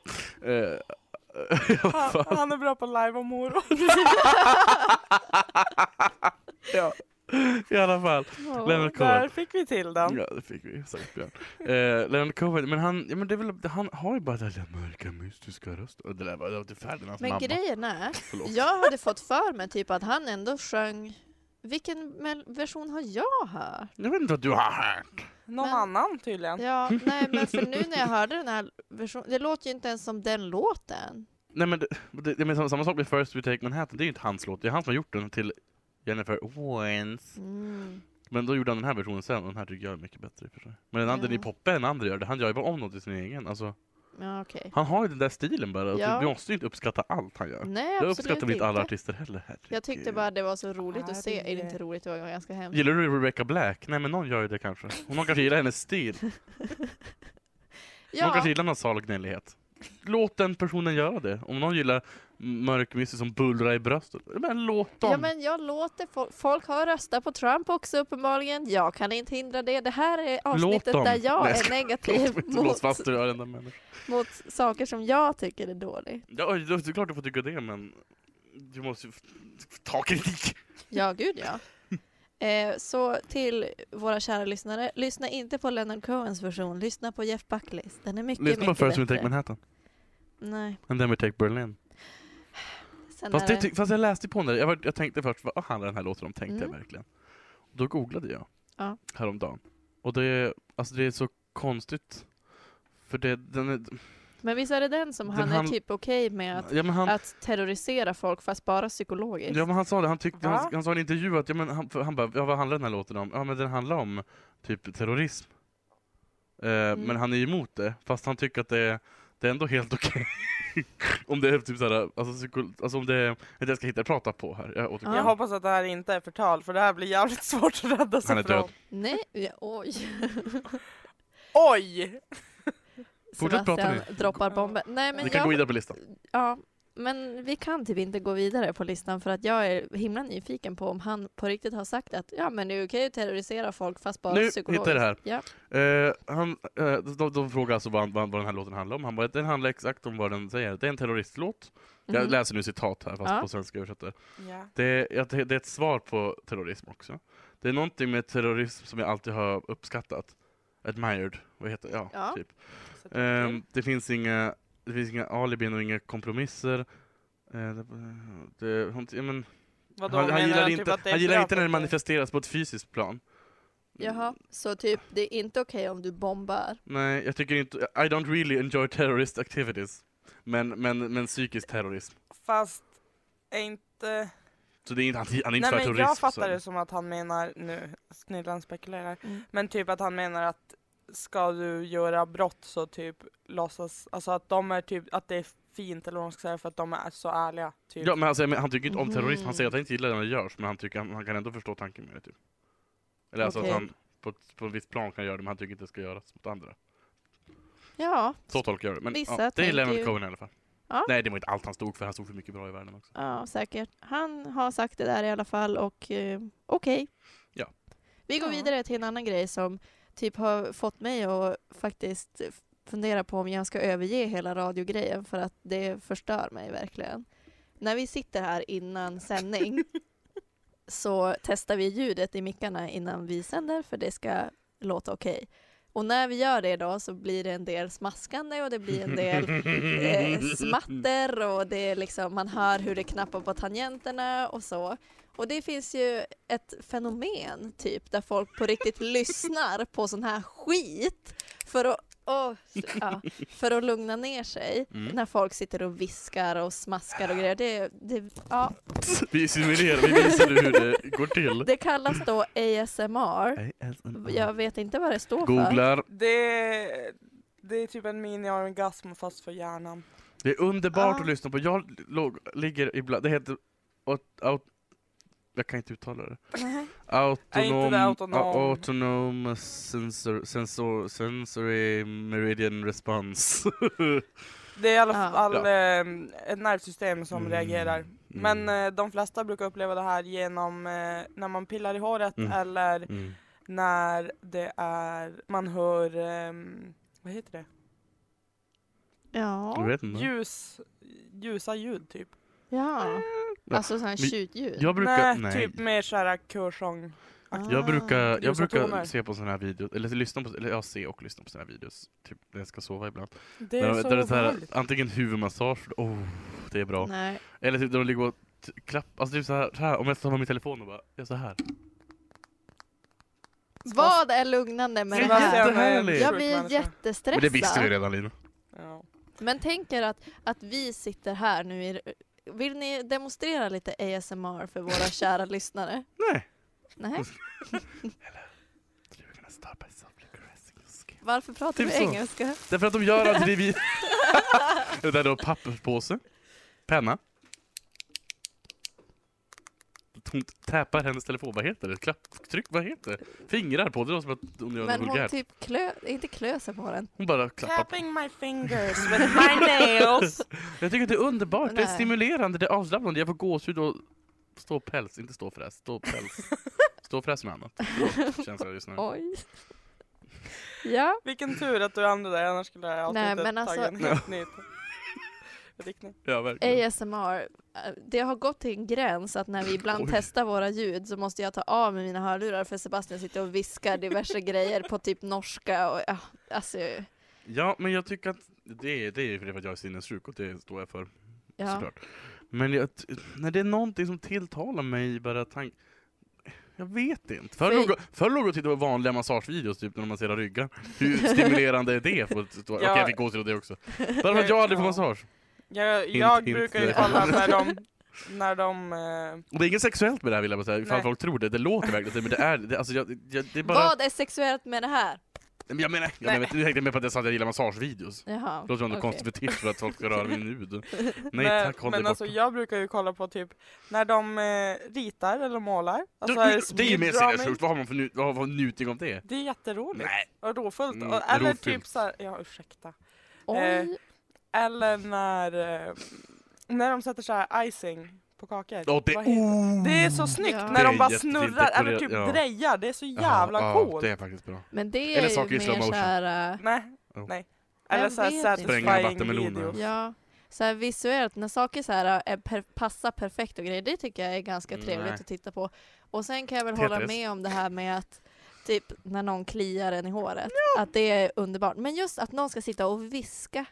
Speaker 3: Eh,
Speaker 4: Han, han är bra på live och moro.
Speaker 3: [LAUGHS] ja. I alla fall. Leonard
Speaker 4: Där
Speaker 3: Cohen.
Speaker 4: fick vi till den.
Speaker 3: Ja, det fick vi. Säkert Björn. Eh, Leonard Cohen, men han, ja, men det är väl, han har ju bara den där mörka mystiska rösten. Och Det där var det var till Ferdinands
Speaker 2: Men
Speaker 3: [LAUGHS] mamma.
Speaker 2: grejen är,
Speaker 3: Förlåt.
Speaker 2: jag hade fått för mig typ att han ändå sjöng Vilken mel- version har jag hört?
Speaker 3: Jag vet inte vad du har hört.
Speaker 4: Någon
Speaker 2: Men-
Speaker 4: annan
Speaker 3: [LAUGHS]
Speaker 4: tydligen.
Speaker 2: Ja, nej men för nu när jag hörde den här versionen, det låter ju inte ens som den låten.
Speaker 3: Nej men, det, det, jag menar, samma- samma sak med First We Take Manhattan, det är ju inte hans låt. Det är han som har gjort den till Jennifer Owens.
Speaker 2: Mm.
Speaker 3: Men då gjorde han den här versionen sen och den här tycker jag är mycket bättre i och för sig. Men den andra, det är
Speaker 2: Ja.
Speaker 3: Poppe den andra gör det. Han gör ju bara om något i sin egen. Alltså,
Speaker 2: Ja, okej.
Speaker 3: han har ju den där stilen bara. och
Speaker 2: Ja.
Speaker 3: Du måste ju inte uppskatta allt han gör.
Speaker 2: Nej,
Speaker 3: jag
Speaker 2: absolut
Speaker 3: uppskattar väl inte alla
Speaker 2: inte.
Speaker 3: artister heller. Herregud.
Speaker 2: Jag tyckte bara det var så roligt att se.
Speaker 4: Herre.
Speaker 2: Är det inte roligt? Det var ganska hemskt.
Speaker 3: Gillar du Rebecca Black? Nej men någon gör ju det kanske. Och [LAUGHS] någon kanske gillar hennes stil. Någon kanske
Speaker 2: Ja,
Speaker 3: gillar nasal gnällighet. Låt den personen göra det. Om någon gillar mörk mysig som bullrar i bröstet. Men låt dem!
Speaker 2: ja, men jag låter folk, folk har röstat på Trump också uppenbarligen. Jag kan inte hindra det. Det här är avsnittet
Speaker 3: dem.
Speaker 2: där jag
Speaker 3: Nej, jag
Speaker 2: är
Speaker 3: ska-
Speaker 2: negativ
Speaker 3: [LAUGHS] låt mig inte låsa
Speaker 2: mot,
Speaker 3: fast dig i varenda människa.
Speaker 2: mot saker som jag tycker är dåligt.
Speaker 3: Ja, det är klart du får tycka det men du måste ju f- f- ta kritik!
Speaker 2: Ja, gud
Speaker 3: [LAUGHS]
Speaker 2: ja. Eh, så till våra kära lyssnare, lyssna inte på Leonard Cohens version, lyssna på Jeff Buckleys. Den är mycket,
Speaker 3: Lyssna på
Speaker 2: mycket
Speaker 3: First We
Speaker 2: bättre.
Speaker 3: Take Manhattan.
Speaker 2: Nej,
Speaker 3: And then we take Berlin.
Speaker 2: sen
Speaker 3: Fast,
Speaker 2: är
Speaker 3: det, ty- fast jag läste på den där. Jag, var, jag tänkte först, vad handlar den här låten om? Tänkte
Speaker 2: Mm.
Speaker 3: jag verkligen. Då googlade jag.
Speaker 2: Ja.
Speaker 3: Häromdagen. Och det, alltså det är så konstigt. För det, den är,
Speaker 2: Men visst är det den som
Speaker 3: Den
Speaker 2: han är
Speaker 3: handl-
Speaker 2: typ okej med att,
Speaker 3: ja, men han,
Speaker 2: att terrorisera folk fast bara psykologiskt?
Speaker 3: Ja men han sa det, han tyckte,
Speaker 4: Va?
Speaker 3: han, han sa i en intervju att, ja men han, för han bara, ja, vad handlar den här låten om? Ja men den handlar om typ terrorism. Eh,
Speaker 2: Mm.
Speaker 3: Men han är emot det, fast han tycker att det, det är ändå helt okej. [LAUGHS] om det är typ såhär, alltså, psyko- alltså om det är, det jag ska hitta prata på här. Jag återkommer.
Speaker 4: Jag hoppas att det här inte är förtal för det här blir jävligt [LAUGHS] svårt att rädda sig
Speaker 3: Han är
Speaker 4: från.
Speaker 3: död.
Speaker 2: Nej, ja, oj.
Speaker 4: Oj!
Speaker 3: Fortsätt prata
Speaker 2: Sebastian droppar bomben. Nej men
Speaker 3: Vi kan
Speaker 2: jag,
Speaker 3: gå vidare på listan.
Speaker 2: ja, men vi kan typ inte gå vidare på listan för att jag är himla nyfiken på om han på riktigt har sagt att ja men det är okej att terrorisera folk fast bara
Speaker 3: Nu
Speaker 2: psykologiskt.
Speaker 3: hittar jag det här.
Speaker 2: Ja.
Speaker 3: Eh, han, eh, de, de frågade alltså vad, vad, vad den här låten handlar om. Han bara, den handlar exakt om vad den säger. Det är en terroristlåt.
Speaker 2: Mhm.
Speaker 3: Jag läser nu citat här fast
Speaker 2: Ja.
Speaker 3: på svenska översätter.
Speaker 4: Ja.
Speaker 3: Det är, ja, det, det är ett svar på terrorism också. Det är någonting med terrorism som jag alltid har uppskattat. Admired, vad heter det? Ja,
Speaker 2: Ja.
Speaker 3: typ.
Speaker 4: Så det är
Speaker 3: Ehm, det, finns inga, det finns inga alibin och inga kompromisser. Eh, det, det, hon, ja, men,
Speaker 4: Vadå,
Speaker 3: han, han
Speaker 4: menar
Speaker 3: gillar
Speaker 4: du
Speaker 3: inte,
Speaker 4: typ att det är
Speaker 3: han gillar
Speaker 4: bra
Speaker 3: inte när
Speaker 4: för
Speaker 3: det
Speaker 4: att
Speaker 3: manifesteras på ett fysiskt plan.
Speaker 2: Jaha, så typ det är inte okej om du bombar.
Speaker 3: Nej, jag tycker inte... I don't really enjoy terrorist activities. Men, men, men psykisk terrorism.
Speaker 4: Fast är inte...
Speaker 3: Så det är inte, han, han är inte
Speaker 4: Nej
Speaker 3: för
Speaker 4: men
Speaker 3: terrorism.
Speaker 4: jag
Speaker 3: så.
Speaker 4: fattar det som att han menar, nu snillan spekulerar,
Speaker 2: Mm.
Speaker 4: men typ att han menar att ska du göra brott så typ låtsas, alltså att de är typ, att det är fint eller vad man ska säga för att de är så ärliga. Typ.
Speaker 3: Ja, men alltså, jag menar, han tycker inte om terrorism.
Speaker 2: Mhm.
Speaker 3: Han säger att han inte gillar det när det görs, men han, tycker, han, han kan ändå förstå tanken med det. Typ. Eller alltså
Speaker 2: Okej.
Speaker 3: att han på, ett- på en viss plan kan göra det, men han tycker inte det ska göras mot andra.
Speaker 2: Ja,
Speaker 3: Så tolkar jag det. Men
Speaker 2: Vissa
Speaker 3: ja, det är
Speaker 2: tänker
Speaker 3: Leonard
Speaker 2: ju-
Speaker 3: Cohen i alla fall.
Speaker 2: Ja.
Speaker 3: Nej, det var inte allt han stod för. Han stod för mycket bra i världen också.
Speaker 2: ja säkert. Han har sagt det där i alla fall och eh, okej.
Speaker 3: Ja.
Speaker 2: Vi går
Speaker 4: Ja.
Speaker 2: vidare till en annan grej som typ har fått mig att faktiskt fundera på om jag ska överge hela radiogrejen för att det förstör mig verkligen. När vi sitter här innan sändning så testar vi ljudet i mickarna innan vi sänder för det ska låta okej. Och när vi gör det då så blir det en del smaskande och det blir en del eh, smatter och det är liksom, man hör hur det knappar på tangenterna och så. Och det finns ju ett fenomen typ där folk på riktigt lyssnar på sån här skit för att, åh, ja, för att lugna ner sig
Speaker 3: Mm.
Speaker 2: när folk sitter och viskar och smaskar och grejer. Det, det, ja,
Speaker 3: [LAUGHS] Mm. Vi simulerar, vi visar nu hur det går till.
Speaker 2: det kallas då ASMR.
Speaker 3: Mm.
Speaker 2: Jag vet inte vad det står för.
Speaker 3: Googlar.
Speaker 4: Det, det är typ en mini-orgasm fast för hjärnan.
Speaker 3: Det är underbart
Speaker 2: Ah.
Speaker 3: att lyssna på. Jag låg, ligger ibland, det heter... Aut, aut, jag kan inte uttala det.
Speaker 2: Nej.
Speaker 3: Autonom,
Speaker 4: Är inte det autonom?
Speaker 3: a- autonom sensor, sensor, sensory meridian response. [LAUGHS]
Speaker 4: Det är i alla
Speaker 2: Ja.
Speaker 4: fall
Speaker 3: Ja.
Speaker 4: ehm, ett nervsystem som
Speaker 3: Mm.
Speaker 4: reagerar.
Speaker 3: Mm.
Speaker 4: Men eh, de flesta brukar uppleva det här genom eh, när man pillar i håret
Speaker 3: Mm.
Speaker 4: eller
Speaker 3: Mm.
Speaker 4: när det är, man hör, ehm, vad heter det?
Speaker 3: Jag
Speaker 2: Ja.
Speaker 3: vet inte.
Speaker 4: Ljus, ljusa ljud typ.
Speaker 2: ja.
Speaker 3: Ja.
Speaker 2: Alltså sån här
Speaker 3: Men-
Speaker 2: tjutljud.
Speaker 3: Jag brukar,
Speaker 4: nej,
Speaker 3: nej.
Speaker 4: typ Ah. mer såhär körsång.
Speaker 3: Jag brukar, jag
Speaker 4: Ljusa
Speaker 3: brukar
Speaker 4: toner.
Speaker 3: se på såna här videos, eller lyssna på, eller jag ser och lyssna på såna här videos, typ när jag ska sova ibland.
Speaker 4: Det är
Speaker 3: där,
Speaker 4: så
Speaker 3: där det är så här,
Speaker 4: ovanligt.
Speaker 3: antingen huvudmassage, oh, det är bra.
Speaker 2: Nej.
Speaker 3: Eller typ där de ligger och t- klapp, alltså typ så här, så här, om jag tar med min telefon och bara, gör så här.
Speaker 2: Vad är lugnande med
Speaker 4: Det
Speaker 2: det
Speaker 4: var
Speaker 2: här?
Speaker 4: så
Speaker 3: Jättehärligt.
Speaker 2: Jag
Speaker 4: sjuk
Speaker 2: blir
Speaker 4: människa.
Speaker 3: Men
Speaker 2: jättestressad.
Speaker 3: det visste vi redan Lina.
Speaker 4: Ja.
Speaker 2: Men tänk er att, att vi sitter här nu. I, vill ni demonstrera lite ASMR för
Speaker 3: [LAUGHS]
Speaker 2: våra kära lyssnare?
Speaker 3: Nej.
Speaker 2: Nej,
Speaker 3: You're gonna start by softly caressing your skin.
Speaker 2: varför pratar
Speaker 3: Typ
Speaker 2: vi
Speaker 3: så.
Speaker 2: engelska?
Speaker 3: Därför att de gör att vi... [LAUGHS] det där då papperspåse, penna. Hon täpar hennes telefon, vad heter det? Klapptryck, vad heter det? Fingrar på, det låter som att hon gör något
Speaker 2: Men hon
Speaker 3: vulgärt.
Speaker 2: typ klö, inte klöser på den.
Speaker 3: Hon bara klappar på.
Speaker 4: Tapping my fingers [LAUGHS] with my nails.
Speaker 3: Jag tycker att det är underbart, det är
Speaker 2: Nej.
Speaker 3: stimulerande, det är avslappnande. Jag får gåshud och ståpäls, inte
Speaker 2: [LAUGHS]
Speaker 3: ståfräs, ståpäls. Ståfräs med annat. Förlåt, Känns jag just nu.
Speaker 2: Oj. [LAUGHS] Ja,
Speaker 4: Vilken tur att du använde det, annars skulle det här
Speaker 2: Nej,
Speaker 4: avsnittet
Speaker 2: men alltså-
Speaker 4: tagit en helt ny riktning.
Speaker 3: Ja, verkligen.
Speaker 2: ASMR. eh, Det har gått till en gräns att när vi ibland
Speaker 3: Oj.
Speaker 2: testar våra ljud så måste jag ta av mig mina hörlurar för Sebastian sitter och viskar
Speaker 3: [LAUGHS]
Speaker 2: diverse grejer på typ norska och ja, alltså
Speaker 3: Ja, men jag tycker att det är, det är för att jag är sinnessjuk och det står jag för.
Speaker 2: ja.
Speaker 3: såklart. Men jag, t- när det är någonting som tilltalar mig bara tank... Jag vet inte. Förr
Speaker 2: För-
Speaker 3: låg, förr låg jag och tittade på vanliga massagevideos, typ när de masserar ryggar. Hur stimulerande är det? På ett, Okej, jag fick gåshud av det också. Bara för att jag aldrig får
Speaker 4: Ja.
Speaker 3: massage.
Speaker 4: Jag,
Speaker 3: Hint,
Speaker 4: jag
Speaker 3: hint.
Speaker 4: brukar ju kolla när de, när de eh,
Speaker 3: Och det är inget sexuellt med det här vill jag bara säga, ifall
Speaker 4: Nej.
Speaker 3: folk tror det. Det låter verkligen så, men det är det. Alltså, jag, jag, det är bara...
Speaker 2: Vad är sexuellt med det här?
Speaker 3: Men Jag menar, jag menar, du tänkte mer på att jag sa att jag gillar massagevideos.
Speaker 2: Jaha.
Speaker 3: Det låter som en
Speaker 2: okej.
Speaker 3: konstig fetisch för att folk ska röra min hud. Nej
Speaker 4: men-
Speaker 3: tack, håll dig
Speaker 4: Men
Speaker 3: borta.
Speaker 4: alltså jag brukar ju kolla på typ när de eh, ritar eller målar. Alltså,
Speaker 3: Du, det är ju mer
Speaker 4: speeddrawing.
Speaker 3: sinnessjukt, vad har man för, nu, vad har man för njutning av det?
Speaker 4: Det är jätteroligt
Speaker 3: Nej.
Speaker 4: och rofullt.
Speaker 3: Mm,
Speaker 4: och, eller
Speaker 3: rofyllt.
Speaker 4: typ såhär, ja ursäkta.
Speaker 3: Eh,
Speaker 2: Oj,
Speaker 4: Eller när, eh, när de sätter så här icing på kakor.
Speaker 3: Åh, det,
Speaker 4: Vad heter-
Speaker 3: oh.
Speaker 4: det är så snyggt
Speaker 2: Ja.
Speaker 4: när
Speaker 3: Det
Speaker 4: de
Speaker 3: är
Speaker 4: bara
Speaker 3: jättefint
Speaker 4: snurrar eller
Speaker 3: dekorerat,
Speaker 4: typ
Speaker 3: ja.
Speaker 4: drejar. Det är så
Speaker 3: Ja,
Speaker 4: jävla
Speaker 3: ja,
Speaker 4: coolt.
Speaker 3: Det är faktiskt bra.
Speaker 2: men det
Speaker 3: Eller
Speaker 2: är
Speaker 3: saker i
Speaker 2: ju
Speaker 3: slow
Speaker 2: mer eh,
Speaker 3: motion.
Speaker 2: såhär,
Speaker 4: Nej,
Speaker 3: Ja.
Speaker 4: nej. Eller
Speaker 2: Jag
Speaker 4: såhär
Speaker 2: vet inte.
Speaker 3: Spränga
Speaker 4: satisfying
Speaker 3: vattenmeloner.
Speaker 4: videos.
Speaker 2: ja, så här visuellt, när saker så här äh, är per, passar perfekt och grejer, det tycker jag är ganska
Speaker 3: Mm, Nej.
Speaker 2: trevligt att titta på. Och sen kan jag väl
Speaker 3: Tetris.
Speaker 2: hålla med om det här med att typ när någon kliar en i håret, att det är underbart. Men just att någon ska sitta och viska,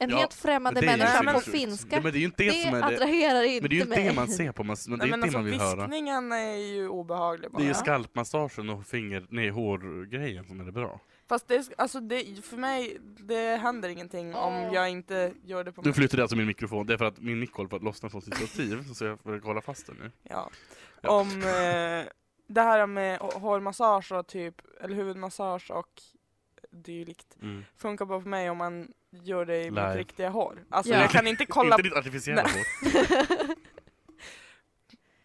Speaker 2: en
Speaker 3: Ja,
Speaker 2: helt främmande
Speaker 3: men det är ju
Speaker 2: människa på
Speaker 3: sinnessjukt.
Speaker 2: finska,
Speaker 3: Nej, men det är ju inte det,
Speaker 2: det
Speaker 3: som är det.
Speaker 2: attraherar
Speaker 3: Men det
Speaker 2: inte
Speaker 3: är ju inte det
Speaker 2: mig.
Speaker 3: man ser på, man, men det är
Speaker 4: Nej, men
Speaker 3: inte det
Speaker 4: alltså
Speaker 3: man vill höra.
Speaker 4: viskningen är ju obehaglig bara.
Speaker 3: Det är ju skalpmassagen och finger, nej, hårgrejen som är det bra.
Speaker 4: Fast det, är- alltså det, för mig, det händer ingenting om jag inte gör det på
Speaker 3: Nu
Speaker 4: mig.
Speaker 3: flyttade alltså min mikrofon, det är för att min mick håller på att lossna från sitt stativ, så jag får kolla fast den nu.
Speaker 4: Ja.
Speaker 3: Ja.
Speaker 4: Om eh, det här med hå- hårmassage och typ, eller huvudmassage och dylikt
Speaker 3: Mm.
Speaker 4: funkar bara för mig om man gör det i
Speaker 3: Live.
Speaker 4: mitt riktiga hår. Alltså
Speaker 2: Ja.
Speaker 4: jag kan inte kolla
Speaker 3: Inte ditt artificiella hår.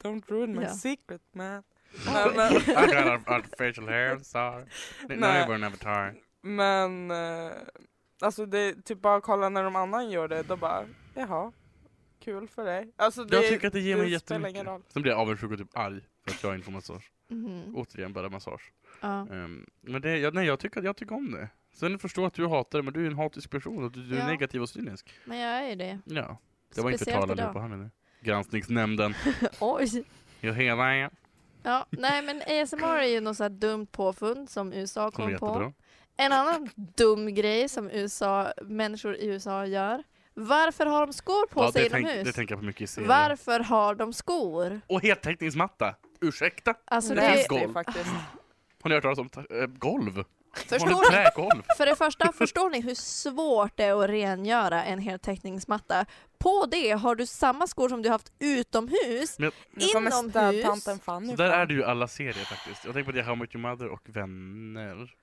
Speaker 4: Don't ruin my
Speaker 2: Ja.
Speaker 4: secret
Speaker 3: [LAUGHS]
Speaker 4: man.
Speaker 2: Oj.
Speaker 4: Men, men,
Speaker 3: I got art- artificial hair, sorry. The
Speaker 4: Nej.
Speaker 3: neighbor never tired.
Speaker 4: men eh, alltså det är typ bara kolla när de annan gör det, då bara jaha, kul för dig. Alltså det,
Speaker 3: Jag tycker att det ger
Speaker 4: det
Speaker 3: mig
Speaker 4: spelar ingen
Speaker 3: jättemycket.
Speaker 2: Alltså,
Speaker 4: roll.
Speaker 3: Sen blir jag avundsjuk och typ arg för att jag inte får massage.
Speaker 2: [LAUGHS] Mhm.
Speaker 3: Återigen bara massage.
Speaker 2: Ja.
Speaker 3: Ehm, men det, jag, nej, jag, tycker, jag tycker om det. Sen förstår jag att du hatar det, men du är en hatisk person och du, du är
Speaker 2: Ja.
Speaker 3: negativ och cynisk.
Speaker 2: Men jag är ju det.
Speaker 3: Ja. Det var inte
Speaker 2: Speciellt
Speaker 3: talande
Speaker 2: idag.
Speaker 3: på han eller? Granskningsnämnden.
Speaker 2: [LAUGHS] Oj!
Speaker 3: Jag hela er.
Speaker 2: Ja, nej men ASMR är ju något så här dumt påfund som USA
Speaker 3: Kommer
Speaker 2: kom på.
Speaker 3: jättebra.
Speaker 2: En annan dum grej som USA, människor i USA gör. Varför har de skor på
Speaker 3: Ja,
Speaker 2: sig
Speaker 3: det, tänk,
Speaker 2: inomhus?
Speaker 3: det tänker jag på mycket i serier.
Speaker 2: Varför har de skor?
Speaker 3: Och heltäckningsmatta! Ursäkta?
Speaker 2: Alltså
Speaker 4: Nej,
Speaker 2: det,
Speaker 3: Skor.
Speaker 4: det är faktiskt.
Speaker 3: Har ni hört talas om ta- eh, golv?
Speaker 2: förstår ni,
Speaker 3: Trägolv?
Speaker 2: [LAUGHS] för det första, förstår ni hur svårt det är att rengöra en heltäckningsmatta? På det har du samma skor som du haft utomhus.
Speaker 4: Nu kommer
Speaker 2: Inomhus.
Speaker 4: städtanten Fanny.
Speaker 3: Så där är det ju i alla serier faktiskt. Jag tänker på det How I Met Your Mother och Vänner.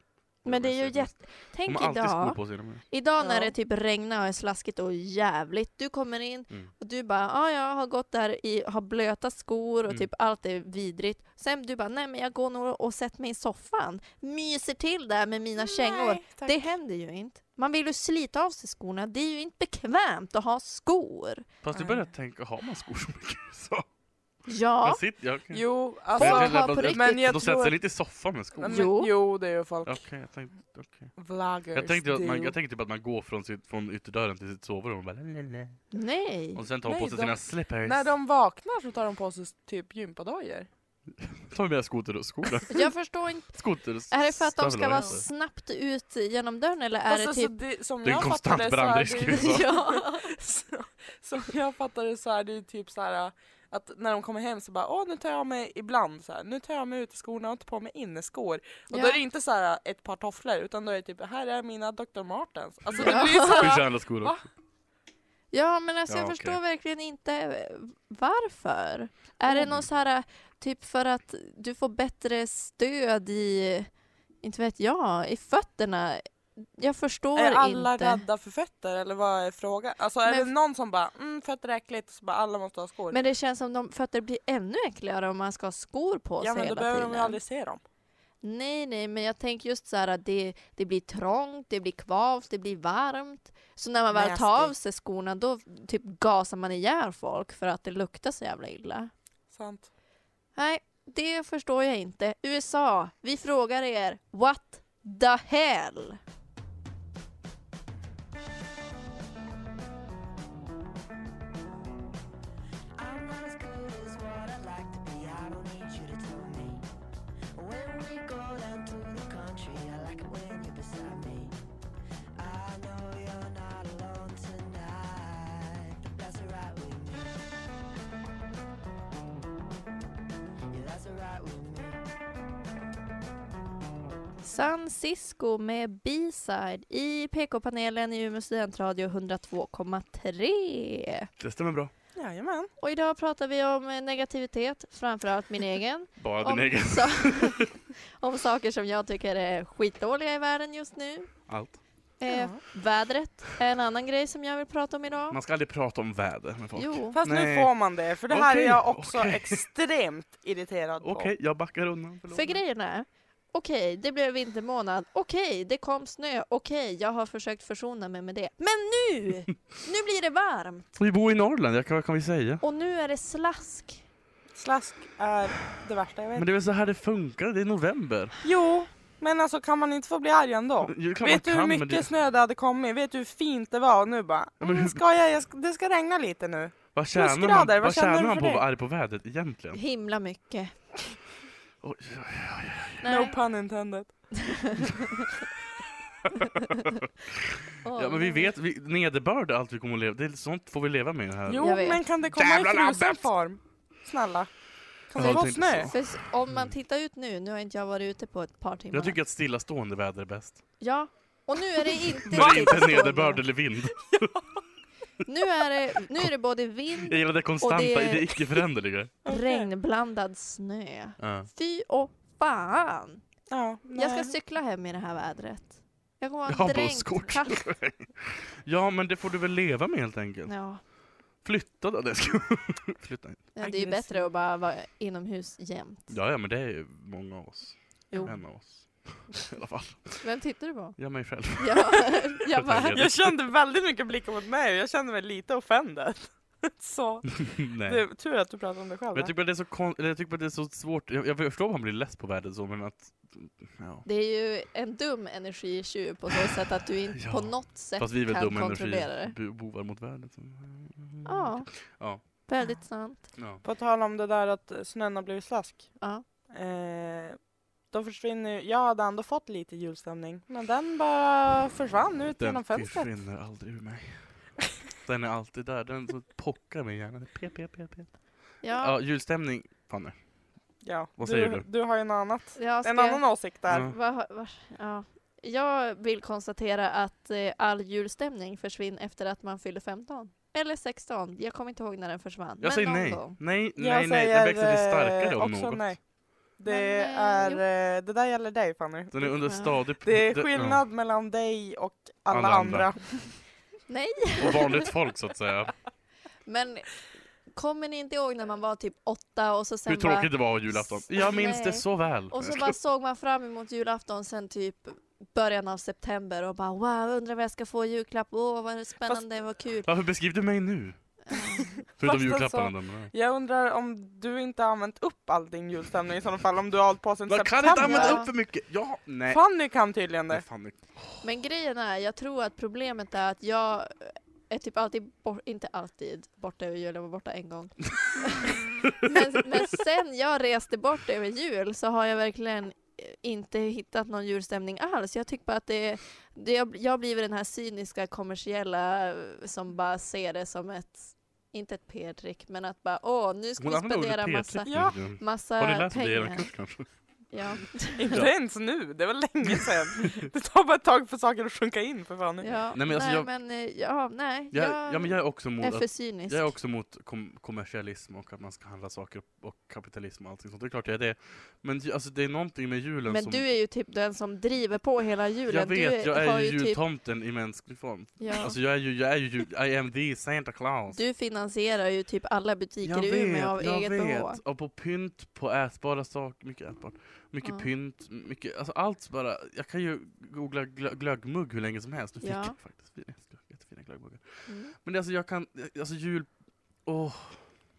Speaker 2: Men det är ju
Speaker 3: serier.
Speaker 2: jätte...
Speaker 3: De
Speaker 2: Tänk
Speaker 3: har alltid skor
Speaker 2: idag.
Speaker 3: på sig. inomhus.
Speaker 2: Idag när
Speaker 4: Ja.
Speaker 2: det typ regnar och är slaskigt och jävligt, du kommer in
Speaker 3: Mm.
Speaker 2: och du bara ah, jag har gått där i, har blöta skor och
Speaker 3: Mm.
Speaker 2: typ allt är vidrigt. Sen du bara nej men jag går nog och sätter mig i soffan, myser till där med mina kängor. Det händer ju inte. Man vill ju slita av sig skorna, det är ju inte bekvämt att ha skor.
Speaker 3: Fast du börjar tänka, har man skor så mycket? Så. Man
Speaker 2: Ja,
Speaker 3: sitter, jag, kan-
Speaker 4: Jo,
Speaker 3: Men
Speaker 2: folk
Speaker 3: det är
Speaker 2: har
Speaker 4: alltså.
Speaker 3: bara-
Speaker 2: på riktigt...
Speaker 4: Men jag
Speaker 3: de sätter
Speaker 4: tror...
Speaker 3: sig lite i soffan med skor.
Speaker 4: Men,
Speaker 2: Jo.
Speaker 4: jo, det gör folk.
Speaker 3: Okej, jag tänkte... okej.
Speaker 4: Vloggers
Speaker 3: Jag tänkte, att man,
Speaker 4: do.
Speaker 3: jag tänkte typ att man går från, sitt, från ytterdörren till sitt sovrum och bara lalalala.
Speaker 2: Nej.
Speaker 3: Och sen tar hon på
Speaker 4: Nej,
Speaker 3: sig
Speaker 4: de-
Speaker 3: sina slippers.
Speaker 4: När de vaknar så tar de på sig typ gympadojor.
Speaker 3: Tar med skoter,
Speaker 4: [LAUGHS]
Speaker 3: skorna.
Speaker 2: Jag förstår inte.
Speaker 3: Skoter,
Speaker 2: Är det för att de ska
Speaker 3: stövlar
Speaker 2: vara
Speaker 3: heter det.
Speaker 2: snabbt ut genom dörren eller är
Speaker 4: Fast
Speaker 2: det
Speaker 4: alltså,
Speaker 2: typ...
Speaker 4: det, som
Speaker 3: Det är en
Speaker 4: jag
Speaker 3: konstant
Speaker 4: fattar det så är
Speaker 3: brandrisk i [LAUGHS]
Speaker 4: det-
Speaker 3: USA.
Speaker 4: [LAUGHS]
Speaker 2: Ja.
Speaker 4: så- Som jag fattar det så är det ju typ så här Att när de kommer hem så bara, åh nu tar jag mig ibland så här, nu tar jag mig ut i skorna och tar på mig inneskor. Och
Speaker 2: Ja.
Speaker 4: då är det inte så här ett par tofflor utan då är det typ, här är mina Dr. Martens. Alltså
Speaker 2: Ja.
Speaker 4: det
Speaker 3: [LAUGHS]
Speaker 4: blir så här,
Speaker 3: Jävla skor
Speaker 4: Va?
Speaker 3: också.
Speaker 2: Ja, men alltså
Speaker 3: Ja,
Speaker 2: jag
Speaker 3: okej.
Speaker 2: förstår verkligen inte eh, varför. Är
Speaker 3: Mm.
Speaker 2: det någon så här, eh, typ för att du får bättre stöd i, inte vet jag, i fötterna? Jag förstår
Speaker 4: är alla
Speaker 2: inte.
Speaker 4: rädda för fötter eller vad är frågan? Alltså är
Speaker 2: Men-
Speaker 4: det någon som bara, mm fötter är äckligt, så bara alla måste ha skor.
Speaker 2: Men det känns som de fötter blir ännu äckligare om man ska ha skor på sig
Speaker 4: ja men då
Speaker 2: hela
Speaker 4: behöver
Speaker 2: tiden.
Speaker 4: de ju aldrig se dem.
Speaker 2: Nej, nej, men jag tänker just så här att det, det blir trångt, det blir kvavt, det blir varmt. Så när man väl tar
Speaker 4: Nasty.
Speaker 2: av sig skorna då typ gasar man ihjäl folk för att det luktar så jävla illa.
Speaker 4: Sant.
Speaker 2: Nej, det förstår jag inte. USA, vi frågar er, what the hell?
Speaker 5: I'm not as good as what I'd like to be. I don't need you to tell me. When we go down to the country, I like it when you're beside me. I know you're not alone tonight, but that's alright with me. Yeah, that's alright with me.
Speaker 2: San Cisco med B-side i PK-panelen i Umeå studentradio 102,3.
Speaker 3: Det stämmer bra.
Speaker 4: Jajamän.
Speaker 2: Och idag pratar vi om eh, negativitet, framförallt min egen.
Speaker 3: Bara din
Speaker 2: om,
Speaker 3: egen.
Speaker 2: sa- [LAUGHS] om saker som jag tycker är skitdåliga i världen just nu.
Speaker 3: Allt.
Speaker 2: Eh,
Speaker 4: Ja.
Speaker 2: Vädret är en annan grej som jag vill prata om idag.
Speaker 3: Man ska aldrig prata om väder med folk.
Speaker 2: Jo,
Speaker 4: Fast
Speaker 3: Nej.
Speaker 4: nu får man det, för det här
Speaker 3: Okej,
Speaker 4: är jag också
Speaker 3: okej.
Speaker 4: extremt irriterad på.
Speaker 3: Okej, jag backar undan. Förlåt.
Speaker 2: för grejen är, okej, det blev vintermånad, okej, det kom snö, okej, jag har försökt försona mig med det. Men nu!
Speaker 3: [LAUGHS]
Speaker 2: nu blir det varmt!
Speaker 3: Vi bor i Norrland, jag kan, vad kan vi säga?
Speaker 2: Och nu är det slask.
Speaker 4: Slask är det värsta jag vet.
Speaker 3: Men det är väl så här det funkar, det är november.
Speaker 4: Jo, men alltså kan man inte få bli arg ändå?
Speaker 3: Jo, klart
Speaker 4: Vet du
Speaker 3: man
Speaker 4: hur
Speaker 3: kan, men
Speaker 4: mycket
Speaker 3: det-
Speaker 4: snö det hade kommit? Vet du hur fint det var? Och nu bara,
Speaker 3: Ja, men
Speaker 4: mm,
Speaker 3: hur-
Speaker 4: ska jag, jag ska, det ska regna lite nu.
Speaker 3: Vad tjänar man,
Speaker 4: grader,
Speaker 3: vad
Speaker 4: vad känner
Speaker 3: tjänar
Speaker 4: du
Speaker 3: man
Speaker 4: för
Speaker 3: på att
Speaker 4: det?
Speaker 3: vara arg på vädret egentligen?
Speaker 2: Himla mycket.
Speaker 3: Oj,
Speaker 4: No pun intended.
Speaker 2: Åh,
Speaker 3: Ja men
Speaker 2: nej.
Speaker 3: vi vet, vi, nederbörd är allt vi kommer att leva det är Sånt får vi leva med här.
Speaker 4: Jo,
Speaker 2: Jag vet.
Speaker 4: men kan det komma
Speaker 3: Jävla
Speaker 4: i frusen
Speaker 3: labbet!
Speaker 4: form? Snälla. Kan
Speaker 3: Ja,
Speaker 4: det
Speaker 3: jag
Speaker 4: få
Speaker 3: tänkte
Speaker 4: snö?
Speaker 3: så.
Speaker 2: För s- om man tittar ut nu, nu har inte jag varit ute på ett par timmar.
Speaker 3: Mm. Jag tycker att stillastående väder är bäst.
Speaker 2: Ja, och nu
Speaker 3: [LAUGHS]
Speaker 2: är det inte
Speaker 3: När det inte är
Speaker 2: stillastående.
Speaker 3: nederbörd
Speaker 2: [LAUGHS]
Speaker 3: eller vind.
Speaker 2: Nu är det, nu är det både vind,
Speaker 3: [LAUGHS] Jag gillar det konstanta,
Speaker 2: Och
Speaker 3: det,
Speaker 2: det-
Speaker 3: är icke-föränderliga.
Speaker 4: Okej.
Speaker 2: regnblandad snö.
Speaker 3: Ja.
Speaker 2: Fy och fan!
Speaker 4: Ja,
Speaker 2: Jag
Speaker 4: nej.
Speaker 2: ska cykla hem i det här vädret. Jag kommer
Speaker 3: Jag
Speaker 2: vara
Speaker 3: har bara
Speaker 2: dränkt
Speaker 3: skor.
Speaker 2: kallt.
Speaker 3: ja men det får du väl leva med helt enkelt.
Speaker 2: Ja,
Speaker 3: Flytta då. Det ska... [LAUGHS] Flytta. inte.
Speaker 2: ja, det är ju bättre att bara vara inomhus jämt.
Speaker 3: Ja, ja men det är ju många av oss.
Speaker 2: Jo.
Speaker 3: En av oss. I alla fall.
Speaker 2: Vem tittar du [LAUGHS] på?
Speaker 3: Jag mig själv.
Speaker 2: Ja, jag bara,
Speaker 4: Jag kände väldigt mycket blickar mot mig och jag kände mig lite offended. [LAUGHS] Så,
Speaker 3: Nej.
Speaker 4: det är tur att du pratar om dig själv.
Speaker 3: Men jag tycker bara det är så kon... eller jag tycker bara det är så svårt. Jag, jag förstår att man blir less på vädret så men att... Ja.
Speaker 2: det är ju en dum energitjuv på så sätt att du inte
Speaker 3: [LAUGHS] Ja.
Speaker 2: på något sätt
Speaker 3: Fast vi är väl
Speaker 2: kan
Speaker 3: dumma
Speaker 2: kontrollera det.
Speaker 3: energibovar mot vädret. så-
Speaker 2: Ja,
Speaker 3: Ja.
Speaker 2: väldigt sant.
Speaker 3: ja.
Speaker 4: På tal om det där att snön har blivit slask.
Speaker 2: Ja.
Speaker 4: Eh, då försvinner ju- Jag hade ändå fått lite julstämning, men den bara försvann ut
Speaker 3: Den
Speaker 4: genom fönstret.
Speaker 3: försvinner aldrig ur mig. Den är alltid där, den så pockar mig i hjärnan. Pep, pep, pep, pep.
Speaker 2: Ja,
Speaker 3: Ja, julstämning. Fanny.
Speaker 4: Ja.
Speaker 3: Vad säger du?
Speaker 4: du? har ju något annat.
Speaker 2: jag
Speaker 4: En
Speaker 2: ska-
Speaker 4: annan åsikt där.
Speaker 3: Ja.
Speaker 2: Vad har- vad- ja. Jag vill konstatera att eh, all julstämning försvinner efter att man fyller 15. Eller 16, jag kommer inte ihåg när den försvann.
Speaker 3: Jag säger
Speaker 2: någon
Speaker 3: nej.
Speaker 2: gång.
Speaker 3: Nej,
Speaker 4: Jag
Speaker 3: nej, nej. Den växer sig
Speaker 4: eh,
Speaker 3: starkare om
Speaker 4: också
Speaker 3: något.
Speaker 4: Nej. Det,
Speaker 2: Men, eh,
Speaker 4: är, eh, det där gäller dig Fanny.
Speaker 3: Den är under stadig...
Speaker 4: Det är
Speaker 3: det-
Speaker 4: skillnad mellan dig och alla,
Speaker 3: Alla andra.
Speaker 4: andra.
Speaker 2: Nej,
Speaker 3: Ja. Och vanligt folk så att säga.
Speaker 2: men kommer ni inte ihåg när man var typ åtta och så sen
Speaker 3: Hur
Speaker 2: bara,
Speaker 3: tråkigt det var julafton. Jag minns det
Speaker 2: Nej.
Speaker 3: så väl.
Speaker 2: och så bara såg man fram emot julafton sen typ början av september och bara wow, undrar vad jag ska få i julklapp, åh vad spännande, vad kul.
Speaker 3: Varför beskrev du mig
Speaker 4: [LAUGHS]
Speaker 3: nu? Förutom
Speaker 4: Fast
Speaker 3: julklapparna.
Speaker 4: alltså,
Speaker 3: den.
Speaker 4: Jag undrar om du inte har använt upp all din julstämning i sådana fall, om du har hållit på sedan
Speaker 3: Man kan
Speaker 4: september.
Speaker 3: inte använda
Speaker 2: Ja.
Speaker 3: upp för mycket. Ja, nej.
Speaker 4: Fanny kan tydligen
Speaker 3: Nej,
Speaker 4: det.
Speaker 3: Fanny.
Speaker 2: Men grejen är, jag tror att problemet är att jag är typ alltid, bor- inte alltid, borta över jul, jag var borta en
Speaker 3: [LAUGHS]
Speaker 2: gång. men, men sen jag reste bort över jul så har jag verkligen eh, inte hittat någon julstämning alls. Jag tycker bara att det, det jag, jag blir den här cyniska kommersiella eh, som bara ser det som ett inte ett PR-trick, men att bara åh, nu ska vi spendera massa,
Speaker 4: Ja. Äh,
Speaker 3: Har ni
Speaker 2: massa
Speaker 3: läst det i
Speaker 2: pengar.
Speaker 3: er kurs kanske?
Speaker 2: Ja,
Speaker 4: Inte ens nu, det var länge sedan. Det tar bara ett tag för saker att sjunka in för fan.
Speaker 2: ja.
Speaker 3: Nej, men alltså,
Speaker 2: nej,
Speaker 3: jag-
Speaker 2: men, eh, ja, nej,
Speaker 3: Jag, ja, men jag är också emot
Speaker 2: är
Speaker 3: att
Speaker 2: för cynisk.
Speaker 3: Jag är också mot kom kommersialism och att man ska handla saker och- och kapitalism och allting sånt. Det är klart jag är det. Men ju- alltså, det är någonting med julen
Speaker 2: men
Speaker 3: som...
Speaker 2: du är ju typ den som driver på hela julen.
Speaker 3: jag vet,
Speaker 2: du
Speaker 3: jag
Speaker 2: har
Speaker 3: är ju
Speaker 2: typ,
Speaker 3: jultomten i mänsklig form.
Speaker 2: ja,
Speaker 3: Alltså jag är ju, jag är ju, jul- I am the Santa Claus.
Speaker 2: Du finansierar ju typ alla butiker
Speaker 3: jag
Speaker 2: i Umeå av
Speaker 3: jag
Speaker 2: eget
Speaker 3: vet.
Speaker 2: behov.
Speaker 3: Och på pynt, på ätbara saker, mycket ätbart. Mycket
Speaker 2: Ja.
Speaker 3: pynt, mycket, alltså allt bara. Jag kan ju googla glö, glöggmugg hur länge som helst. Nu fick
Speaker 2: Ja.
Speaker 3: jag faktiskt fina, jättefina glöggmuggar.
Speaker 2: Mm.
Speaker 3: Men det, alltså jag kan, alltså jul, åh.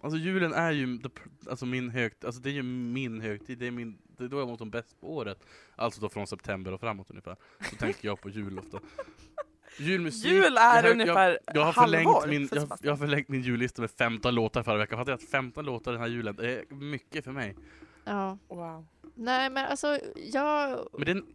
Speaker 3: Alltså julen är ju the, pr- alltså min högt, alltså det är ju min högtid, det är min, det är då jag mår som bäst på året. Alltså då från september och framåt ungefär. Så tänker jag på jul ofta. Julmusik.
Speaker 4: Jul är
Speaker 3: jag,
Speaker 4: ungefär
Speaker 3: jag, jag har
Speaker 4: halvår
Speaker 3: förlängt min,
Speaker 4: för
Speaker 3: jag, har-
Speaker 4: Sebastian.
Speaker 3: jag har förlängt min jullista med 15 låtar förra veckan. Fattar jag att 15 låtar den här julen, det är mycket för mig.
Speaker 2: Ja.
Speaker 4: Wow.
Speaker 2: Nej men alltså, jag,
Speaker 3: Men den,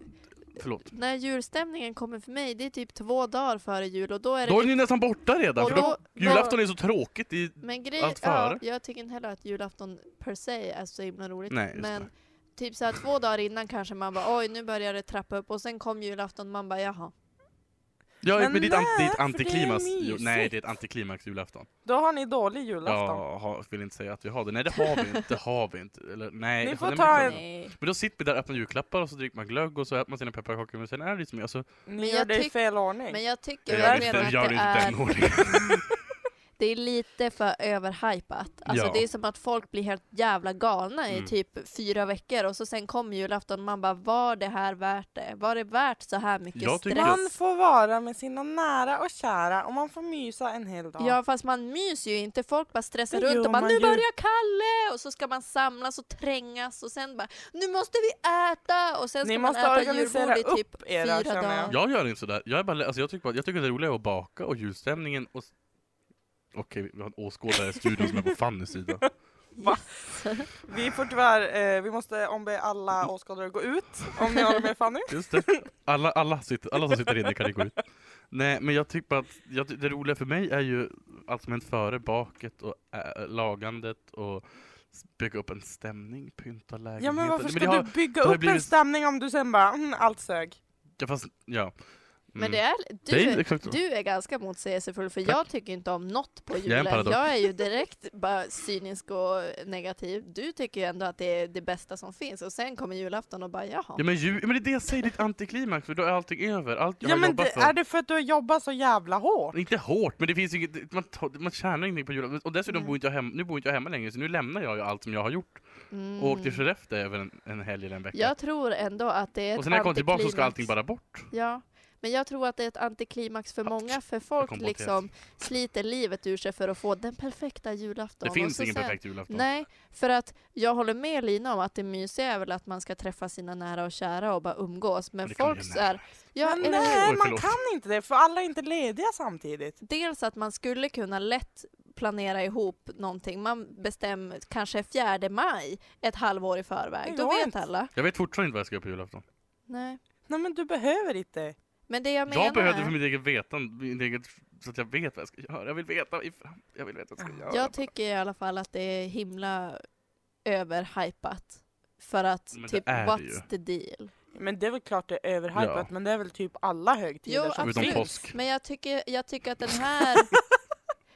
Speaker 3: förlåt.
Speaker 2: när julstämningen kommer för mig, det är typ två dagar före jul och då är det... typ-
Speaker 3: Då är ni nästan borta redan,
Speaker 2: och
Speaker 3: för då,
Speaker 2: då-
Speaker 3: julafton är så tråkigt. I,
Speaker 2: Men grej,
Speaker 3: allt
Speaker 2: ja,
Speaker 3: före.
Speaker 2: jag tycker inte heller att julafton per se är så himla roligt.
Speaker 3: Nej, just
Speaker 2: men
Speaker 3: det.
Speaker 2: typ så här två dagar innan kanske man bara oj nu börjar det trappa upp och sen kom julafton man bara jaha.
Speaker 3: ja,
Speaker 4: Men
Speaker 3: men ditt, an,
Speaker 4: nej,
Speaker 3: ditt
Speaker 4: för det är
Speaker 3: antiklimax, ju,
Speaker 4: mysigt.
Speaker 3: nej det är ett antiklimax julafton.
Speaker 4: Då har ni dålig julafton.
Speaker 3: Jag har, vill inte säga att vi har det. Nej det har vi inte. Det har vi inte. Eller, nej,
Speaker 4: Ni får
Speaker 3: nej,
Speaker 4: ta
Speaker 3: men,
Speaker 4: en-
Speaker 3: nej.
Speaker 2: Nej.
Speaker 3: men då sitter vi där och öppnar julklappar och så dricker man glögg och så äter man sina pepparkakor. Men sen är det liksom, alltså,
Speaker 4: Ni
Speaker 2: Men
Speaker 4: gör
Speaker 2: jag
Speaker 4: det i
Speaker 2: tyck-
Speaker 4: fel ordning.
Speaker 2: Men jag tycker
Speaker 4: Det är
Speaker 2: verkligen
Speaker 4: därför
Speaker 2: att
Speaker 3: gör
Speaker 2: det
Speaker 3: det inte
Speaker 2: är,
Speaker 3: den ordningen. [LAUGHS]
Speaker 2: det är lite för överhypat. Alltså
Speaker 3: Ja.
Speaker 2: det är som att folk blir helt jävla galna i
Speaker 3: Mm.
Speaker 2: typ fyra veckor och så sen kommer julafton och man bara var det här värt det? Var det värt så här mycket
Speaker 3: Jag tycker-
Speaker 2: stress?
Speaker 4: Man får vara med sina nära och kära och man får mysa en hel dag.
Speaker 2: Ja fast man myser ju inte, folk bara stressar
Speaker 4: Det
Speaker 2: runt
Speaker 4: gör
Speaker 2: och bara
Speaker 4: man
Speaker 2: nu
Speaker 4: ju."
Speaker 2: börjar Kalle! Och så ska man samlas och trängas och sen bara nu måste vi äta! Och sen ska
Speaker 4: Ni
Speaker 2: man
Speaker 4: måste
Speaker 2: äta
Speaker 4: organisera
Speaker 2: julbord i typ
Speaker 4: upp era,
Speaker 2: fyra
Speaker 4: känner jag.
Speaker 2: dagar.
Speaker 3: Jag gör inte sådär. Jag, är bara, alltså, jag, tycker bara, jag tycker det är roligare att baka och julstämningen och... s- Okej, vi har en åskådare i studion som är på Fannys sida.
Speaker 4: Va? Vi får tyvärr, eh, vi måste ombe alla åskådare att gå ut om ni håller med
Speaker 3: [LAUGHS]
Speaker 4: Fanny.
Speaker 3: Just det. Alla, alla, sitter, alla som sitter inne kan ju gå ut. Nej, men jag tycker bara att jag, ty- det roliga för mig är ju allt som hänt före baket och ä, lagandet och s- bygga upp en stämning, pynta lägenheten.
Speaker 4: Ja men varför ska
Speaker 3: det har-
Speaker 4: du bygga
Speaker 3: det har
Speaker 4: upp en
Speaker 3: blivit-
Speaker 4: stämning om du sen bara mm, allt sög?
Speaker 3: Ja, fast, ja. Mm.
Speaker 2: Men det är,
Speaker 3: Det är
Speaker 2: du,
Speaker 3: exakt så.
Speaker 2: du är ganska motsägelsefull för
Speaker 3: Tack.
Speaker 2: jag tycker inte om något på
Speaker 3: är en
Speaker 2: julen. Jag är,
Speaker 3: paradox.
Speaker 2: ju direkt bara cynisk och negativ. Du tycker ju ändå att det är det bästa som finns och sen kommer julafton och bara jaha.
Speaker 3: Ja, men, ju, men det är det jag säger, det är ett antiklimax, för då är allting över. Allt jag
Speaker 4: Ja
Speaker 3: har
Speaker 4: men
Speaker 3: jobbat
Speaker 4: det,
Speaker 3: för.
Speaker 4: är det för att du har jobbat så jävla hårt?
Speaker 3: Inte hårt, men det finns ju inget, man, tar- man tjänar ingenting på julen. Och dessutom
Speaker 4: Mm.
Speaker 3: bor inte jag hemma, nu bor inte jag hemma längre, så nu lämnar jag ju allt som jag har gjort
Speaker 2: Mm.
Speaker 3: och åker till Skellefteå över en, en helg eller en vecka.
Speaker 2: Jag tror ändå att det är ett
Speaker 3: och sen när jag kommer tillbaka så ska
Speaker 2: antiklimax.
Speaker 3: allting bara bort.
Speaker 2: Ja, men jag tror att det är ett antiklimax för
Speaker 3: Ja,
Speaker 2: många, för folk
Speaker 3: kom på en tes.
Speaker 2: liksom sliter livet ur sig för att få den perfekta julafton.
Speaker 3: Det
Speaker 2: Och
Speaker 3: finns
Speaker 2: så
Speaker 3: ingen
Speaker 2: sen-
Speaker 3: perfekt julafton.
Speaker 2: Nej, för att jag håller med Lina om att det mysiga är väl att man ska träffa sina nära och kära och bara umgås, men
Speaker 3: Men det kan
Speaker 2: folk
Speaker 3: vi göra
Speaker 2: så här, ja,
Speaker 4: men
Speaker 2: eller hur?
Speaker 4: nej,
Speaker 3: Oj,
Speaker 4: man
Speaker 3: förlåt.
Speaker 4: kan inte det för alla är inte lediga samtidigt.
Speaker 2: dels att man skulle kunna lätt planera ihop någonting. Man bestämmer kanske 4 maj ett halvår i
Speaker 4: Det
Speaker 2: förväg. Då
Speaker 4: går
Speaker 2: vet
Speaker 4: inte.
Speaker 2: alla.
Speaker 3: Jag vet fortfarande inte vad jag ska göra på julafton.
Speaker 2: Nej.
Speaker 4: Nej men du behöver inte.
Speaker 2: Men det jag menar...
Speaker 3: Jag behöver för mitt eget vetande, min eget, så att jag vet vad jag ska göra. Jag vill veta, i fram- jag vill veta vad jag ska göra.
Speaker 2: Jag tycker i alla fall att det är himla överhypat. För att
Speaker 3: Men det
Speaker 2: typ,
Speaker 3: är det
Speaker 2: what's
Speaker 3: ju.
Speaker 2: the deal?
Speaker 4: Men det är väl klart det är överhypat
Speaker 3: Ja.
Speaker 4: men det är väl typ alla högtider
Speaker 2: Jo,
Speaker 3: Utom
Speaker 4: som
Speaker 2: absolut.
Speaker 4: finns.
Speaker 3: påsk.
Speaker 2: Men jag tycker, jag tycker att den
Speaker 3: [LAUGHS]
Speaker 2: här...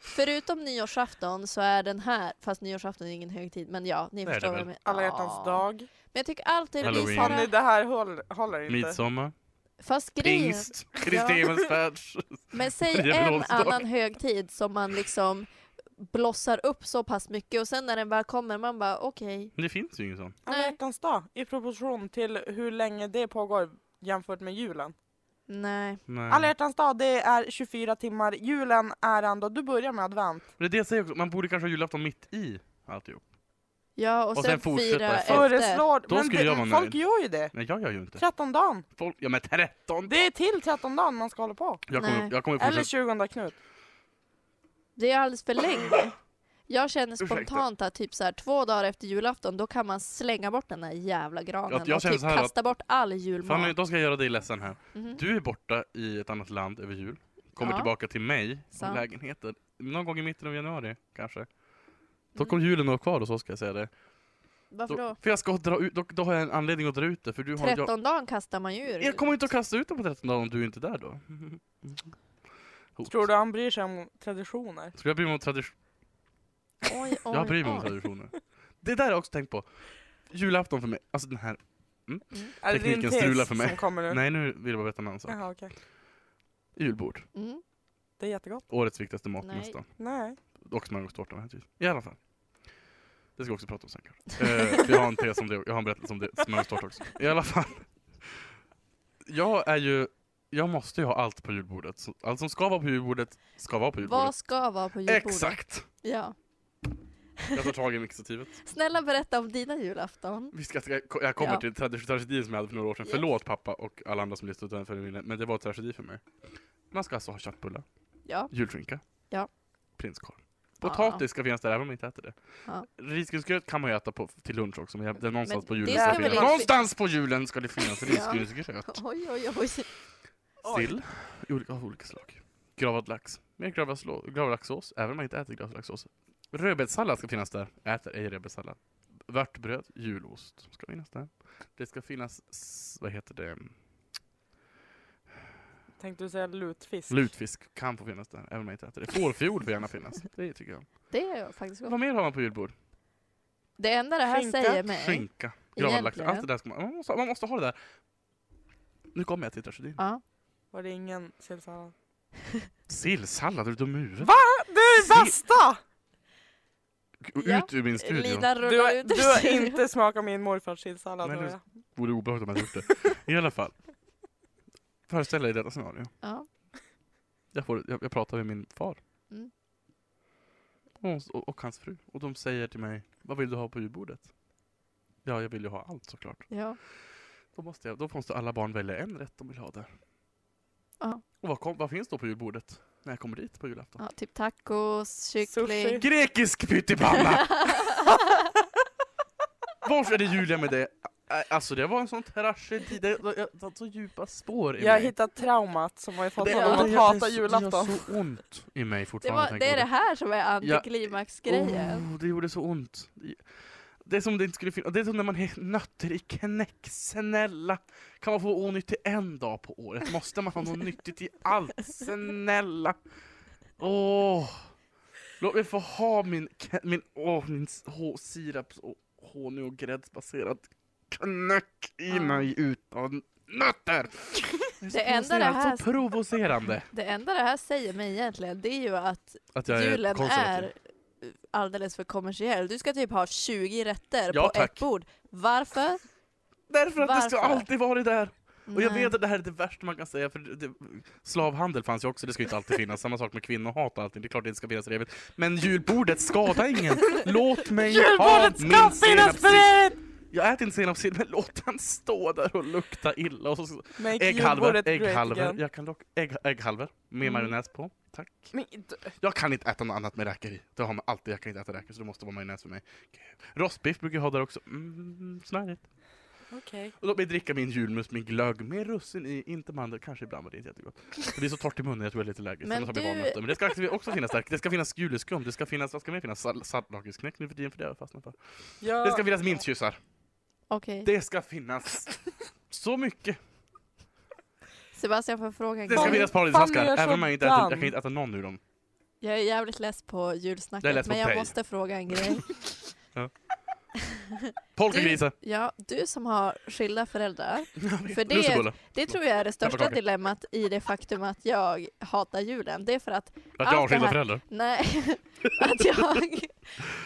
Speaker 2: Förutom nyårsafton så är den här, fast nyårsafton är ingen högtid, men ja, ni
Speaker 3: Det är
Speaker 2: förstår
Speaker 3: det
Speaker 2: vad jag
Speaker 3: väl.
Speaker 2: menar.
Speaker 4: Alla
Speaker 2: Ja.
Speaker 4: hjärtans dag.
Speaker 2: Men jag tycker alltid det blir
Speaker 3: Halloween.
Speaker 4: Fanny
Speaker 2: sådana,
Speaker 4: det här håll, håller inte.
Speaker 3: Midsommar,
Speaker 2: fast grejen,
Speaker 3: pingst, Kristi himmelsfärds.
Speaker 2: Men säg
Speaker 3: [LAUGHS] Maria
Speaker 2: en
Speaker 3: Långsdag.
Speaker 2: annan högtid som man liksom blossar upp så pass mycket och sen när den väl kommer man bara okej.
Speaker 3: Men det finns ju ingen sån.
Speaker 4: Alla
Speaker 2: Nej.
Speaker 4: hjärtans dag i proportion till hur länge det pågår jämfört med julen.
Speaker 2: Nej.
Speaker 3: Nej.
Speaker 4: Alla hjärtans dag det är 24 timmar, julen är ändå, du börjar med advent.
Speaker 3: Men det är det jag säger också, man borde kanske ha julafton mitt i alltihop.
Speaker 2: Ja och,
Speaker 3: Och
Speaker 2: sen,
Speaker 3: sen fortsätta
Speaker 2: fyra
Speaker 3: i fem.
Speaker 2: efter.
Speaker 4: Föreslår,
Speaker 3: Då
Speaker 4: men
Speaker 3: skulle
Speaker 4: det,
Speaker 3: jag vara nöjd.
Speaker 4: folk gör ju det.
Speaker 3: Nej jag gör ju inte.
Speaker 4: 13 dagen.
Speaker 3: Folk, ja men 13!
Speaker 4: Det är till 13 dagen man ska hålla på.
Speaker 3: Jag
Speaker 2: Nej.
Speaker 3: kommer, jag kommer
Speaker 4: Eller
Speaker 3: fortsätta.
Speaker 4: 20 Knut.
Speaker 2: Det är alldeles för länge. Jag känner
Speaker 3: Ursäkta.
Speaker 2: spontant att typ så här, två dagar efter julafton då kan man slänga bort den där jävla granen
Speaker 3: Att jag
Speaker 2: och
Speaker 3: känner
Speaker 2: typ
Speaker 3: så här
Speaker 2: kasta bort all
Speaker 3: Fanny,
Speaker 2: julmat.
Speaker 3: då ska jag göra dig ledsen här.
Speaker 2: Mhm.
Speaker 3: Du är borta i ett annat land över jul. Kommer
Speaker 2: Ja.
Speaker 3: tillbaka till mig och
Speaker 2: Sant.
Speaker 3: lägenheten någon gång i mitten av januari kanske. Då kommer julen att vara kvar hos oss ska jag säga det.
Speaker 2: Mm. Varför
Speaker 3: Då,
Speaker 2: då?
Speaker 3: för jag ska dra ut, då, då har jag en anledning att dra ut det. För du har, jag,
Speaker 2: 13 dagen kastar man ju ur.
Speaker 3: jag kommer inte att kasta ut det på 13 dagar om du inte är där då. [LAUGHS] Hot.
Speaker 4: Tror du han bryr sig om traditioner?
Speaker 3: Ska jag bry mig om tradition?
Speaker 2: Oj, oj,
Speaker 3: Jag bryr mig om
Speaker 2: oj.
Speaker 3: traditioner. Det där har jag också tänkt på. Julafton för mig, alltså den här...
Speaker 4: Är det din
Speaker 3: Tekniken
Speaker 4: tes
Speaker 3: strular för mig.
Speaker 4: som kommer nu?
Speaker 3: Nej nu vill jag bara veta en annan sak.
Speaker 4: Jaha, okej.
Speaker 3: Julbord.
Speaker 2: Mm.
Speaker 4: Det är jättegott.
Speaker 3: Årets viktigaste mat
Speaker 2: Nej.
Speaker 3: nästan.
Speaker 4: Nej.
Speaker 3: Och smörgåstårta naturligtvis. I alla fall. Det ska jag också prata om sen kanske. Eh, för jag har en tes om det, jag har en berättelse om det, smörgåstårta också. I alla fall. Jag är ju, jag måste ju ha allt på julbordet. Så Allt som ska vara på julbordet, ska vara på julbordet.
Speaker 2: Vad ska vara på julbordet?
Speaker 3: Exakt!
Speaker 2: Ja.
Speaker 3: Jag tar tag i initiativet.
Speaker 2: Snälla berätta om dina julafton.
Speaker 3: Vi ska, jag- jag kommer
Speaker 2: Ja.
Speaker 3: till tragedi- tragedin som jag hade för några år sedan.
Speaker 2: Yes.
Speaker 3: Förlåt pappa och alla andra som lyssnat utan för minne, men det var en tragedi för mig. Man ska alltså ha köttbullar,
Speaker 2: Ja.
Speaker 3: julskinka,
Speaker 2: Ja.
Speaker 3: prinskorv. Potatis ska finnas där även om man inte äter det.
Speaker 2: Ja.
Speaker 3: Risgrynsgröt kan man ju äta på, till lunch också, men jag- det är någonstans
Speaker 2: Men
Speaker 3: på
Speaker 2: det
Speaker 3: julen
Speaker 2: ska
Speaker 3: ska
Speaker 4: väl
Speaker 3: finnas.
Speaker 4: inte-
Speaker 3: Någonstans på julen ska det finnas
Speaker 2: Ja.
Speaker 3: risgrynsgröt.
Speaker 2: Oj, oj, oj.
Speaker 4: Oj.
Speaker 3: Sill i olika, av olika slag. Gravad lax. Mer gravad slå- gravad laxsås, även om man inte äter gravad laxsås. Rödbetssallad ska finnas där. Äter ej rödbetssallad. Vörtbröd, julost ska finnas där. Det ska finnas, s- vad heter det,
Speaker 4: Tänkte du säga lutfisk?
Speaker 3: lutfisk kan få finnas där, även om man inte äter det. Fårfjol får gärna finnas. Det tycker jag.
Speaker 2: Det är faktiskt gott.
Speaker 3: Vad mer har man på julbord?
Speaker 2: Det enda det här
Speaker 4: Skinka.
Speaker 2: säger mig...
Speaker 3: Skinka, gravad lax,
Speaker 2: Egentligen.
Speaker 3: allt det där ska man, man måste, man måste ha det där. Nu kommer jag till tragedin.
Speaker 2: Ja.
Speaker 4: Var det ingen sillsallad?
Speaker 3: Sillsallad, är du dum i huvudet?
Speaker 4: Va? Du är
Speaker 3: Sill-
Speaker 4: bästa!
Speaker 2: Ja.
Speaker 3: Ut ur min studio.
Speaker 2: Lina
Speaker 4: Du
Speaker 2: rullar
Speaker 4: har,
Speaker 2: ut ur
Speaker 4: du har
Speaker 2: studion.
Speaker 4: inte smakat min morfars sillsallad.
Speaker 3: Nej,
Speaker 4: har
Speaker 3: det-
Speaker 4: jag.
Speaker 3: vore obehagligt om jag hade gjort
Speaker 2: [LAUGHS]
Speaker 3: det. I alla fall. Föreställ dig detta scenario.
Speaker 2: Ja.
Speaker 3: Jag, får, jag, jag pratar med min far.
Speaker 2: Mm.
Speaker 3: Och, och, och hans fru. Och de säger till mig, vad vill du ha på julbordet? Ja, jag vill ju ha allt såklart.
Speaker 2: Ja.
Speaker 3: Då måste, jag, då måste alla barn välja en rätt de vill ha där.
Speaker 2: Ja.
Speaker 3: Och vad, kom, vad finns då på julbordet? När jag kommer dit på julafton?
Speaker 2: ja, typ tacos, kyckling.
Speaker 4: Sushi.
Speaker 3: Grekisk [LAUGHS] pyttipanna! [LAUGHS] Varför är det Julia med det? Ä- Alltså det var en sån tragedi, det har tagit så djupa spår i
Speaker 4: Jag har
Speaker 3: mig.
Speaker 4: hittat traumat som har fått
Speaker 3: Det,
Speaker 2: honom
Speaker 4: honom
Speaker 2: att
Speaker 4: att
Speaker 3: gör-
Speaker 4: hata julafton.
Speaker 3: Det gör så ont i mig
Speaker 2: Det,
Speaker 3: fortfarande.
Speaker 2: var, det är det här som är antiklimaxgrejen.
Speaker 3: Oh, det gjorde så ont. Det är som det inte skulle finnas. Det är som när man har nötter i knäck. Snälla! Kan man få onyttigt en dag på året? Måste man ha något nyttigt i allt? Snälla! Åh! Låt mig få ha min, knä- min, åh, min s- hå- siraps och honung och gräddbaserad knäck i
Speaker 2: Ja.
Speaker 3: mig utan
Speaker 2: [LAUGHS]
Speaker 3: nötter! Det är så
Speaker 2: Det enda det
Speaker 3: provocerande,
Speaker 2: här-
Speaker 3: Så provocerande!
Speaker 2: Det enda det här säger mig egentligen det är ju att
Speaker 3: Att jag är
Speaker 2: julen
Speaker 3: konservativ.
Speaker 2: är alldeles för kommersiell. Du ska typ ha 20 rätter
Speaker 3: Ja,
Speaker 2: på
Speaker 3: tack.
Speaker 2: ett bord. Varför?
Speaker 3: Därför att det ska
Speaker 2: Varför?
Speaker 3: alltid vara det där. Och jag
Speaker 2: Nej.
Speaker 3: vet att det här är det värsta man kan säga, för det, det, slavhandel fanns ju också, det ska ju inte alltid finnas. Samma sak med kvinnohat och allting, det är klart det inte ska finnas för evigt. Men julbordet skadar ingen! Låt mig ha
Speaker 4: [LAUGHS] Julbordet ska
Speaker 3: min
Speaker 4: finnas för
Speaker 3: senapssill!
Speaker 4: er!
Speaker 3: Jag äter inte senapssill, men låt den stå där och lukta illa. Och så,
Speaker 4: Make
Speaker 3: ägghalvor,
Speaker 4: julbordet great
Speaker 3: ägghalvor.
Speaker 4: again.
Speaker 3: Jag kan dock, ägg, ägghalvor med
Speaker 4: Mm.
Speaker 3: majonnäs på. Tack.
Speaker 4: Men d-
Speaker 3: Jag kan inte äta något annat med räkor i. Det har man alltid, jag kan inte äta räkor så det måste vara majonnäs för mig. Rostbiff brukar jag ha där också. Mm, snärigt.
Speaker 4: Okej.
Speaker 3: Och låt mig dricka min julmust med glögg med russin i, inte mandel, kanske ibland var det inte jättegott. Det blir så torrt i munnen, jag tror jag är lite allergisk.
Speaker 2: Men
Speaker 3: Men,
Speaker 2: du-
Speaker 3: du... Men det ska också finnas där. Det ska finnas juleskum, det ska finnas, vad ska mer finnas? Sal- Saltlakritsknäck nu för tiden, för det har jag fastnat för.
Speaker 4: Ja.
Speaker 3: Det ska finnas mintkyssar.
Speaker 2: Okej.
Speaker 3: Det ska finnas så mycket.
Speaker 2: Sebastian får fråga en
Speaker 3: Det ska
Speaker 2: gång.
Speaker 4: Fan,
Speaker 3: finnas
Speaker 4: fan,
Speaker 3: paradishandskar,
Speaker 4: jag är så
Speaker 3: även om jag inte äter, jag
Speaker 4: dum.
Speaker 3: kan inte äta någon ur dem.
Speaker 2: Jag är jävligt less på
Speaker 3: Jag är
Speaker 2: julsnacket
Speaker 3: less på
Speaker 2: men jag
Speaker 3: dig.
Speaker 2: måste fråga en
Speaker 3: [LAUGHS]
Speaker 2: grej.
Speaker 3: Polkagrisar.
Speaker 2: Ja, du som har skilda föräldrar. [LAUGHS] För det-
Speaker 3: Lussebullar.
Speaker 2: Det tror jag är det största
Speaker 3: Pepparkakor.
Speaker 2: dilemmat i det faktum att jag hatar julen. Det är för att,
Speaker 3: För att jag har
Speaker 2: allt det
Speaker 3: skilda
Speaker 2: här-
Speaker 3: föräldrar.
Speaker 2: nej, [LAUGHS] att jag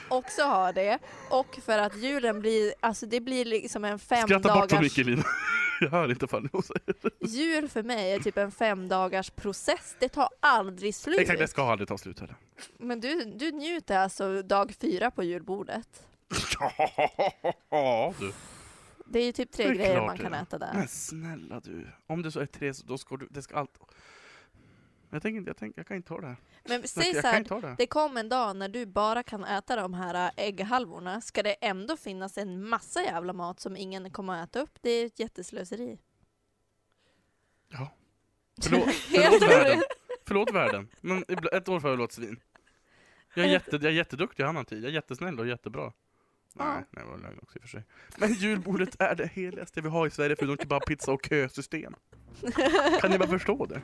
Speaker 2: också har det. Och för att julen blir, alltså det blir liksom en fem
Speaker 3: Skratta bort så
Speaker 2: dagars...
Speaker 3: mycket [LAUGHS] Lina. Jag hör inte fan hon säger.
Speaker 2: Jul för mig är typ en fem dagars process. Det tar aldrig slut.
Speaker 3: Exakt, det ska aldrig ta slut heller. [LAUGHS]
Speaker 2: Men du, du njuter alltså dag fyra på julbordet.
Speaker 3: Ja du.
Speaker 2: Det är ju typ tre
Speaker 3: Det är
Speaker 2: grejer
Speaker 3: klart
Speaker 2: man
Speaker 3: det
Speaker 2: kan
Speaker 3: är.
Speaker 2: äta där.
Speaker 3: Men snälla du, om det så är tre så då ska du, det ska allt... Jag tänker inte, jag, tänker, jag kan inte ta det här.
Speaker 2: Men
Speaker 3: Jag,
Speaker 2: säg
Speaker 3: jag
Speaker 2: så
Speaker 3: kan
Speaker 2: här,
Speaker 3: inte ta det här.
Speaker 2: det kom en dag när du bara kan äta de här äh, ägghalvorna. Ska det ändå finnas en massa jävla mat som ingen kommer att äta upp? Det är ett jätteslöseri.
Speaker 3: Ja. Förlåt,
Speaker 2: Helt [LAUGHS]
Speaker 3: förlåt världen. Förlåt världen. Men ibla- ett år får jag låta svin. Jag är, jätte, jag är jätteduktig, jag hann ha tid. Jag är jättesnäll och jättebra.
Speaker 4: Ja.
Speaker 3: Nej, nej, det var lögn också i och för sig. Men julbordet är det heligaste vi har i Sverige förutom kebabpizza och kösystem. Kan ni bara förstå det?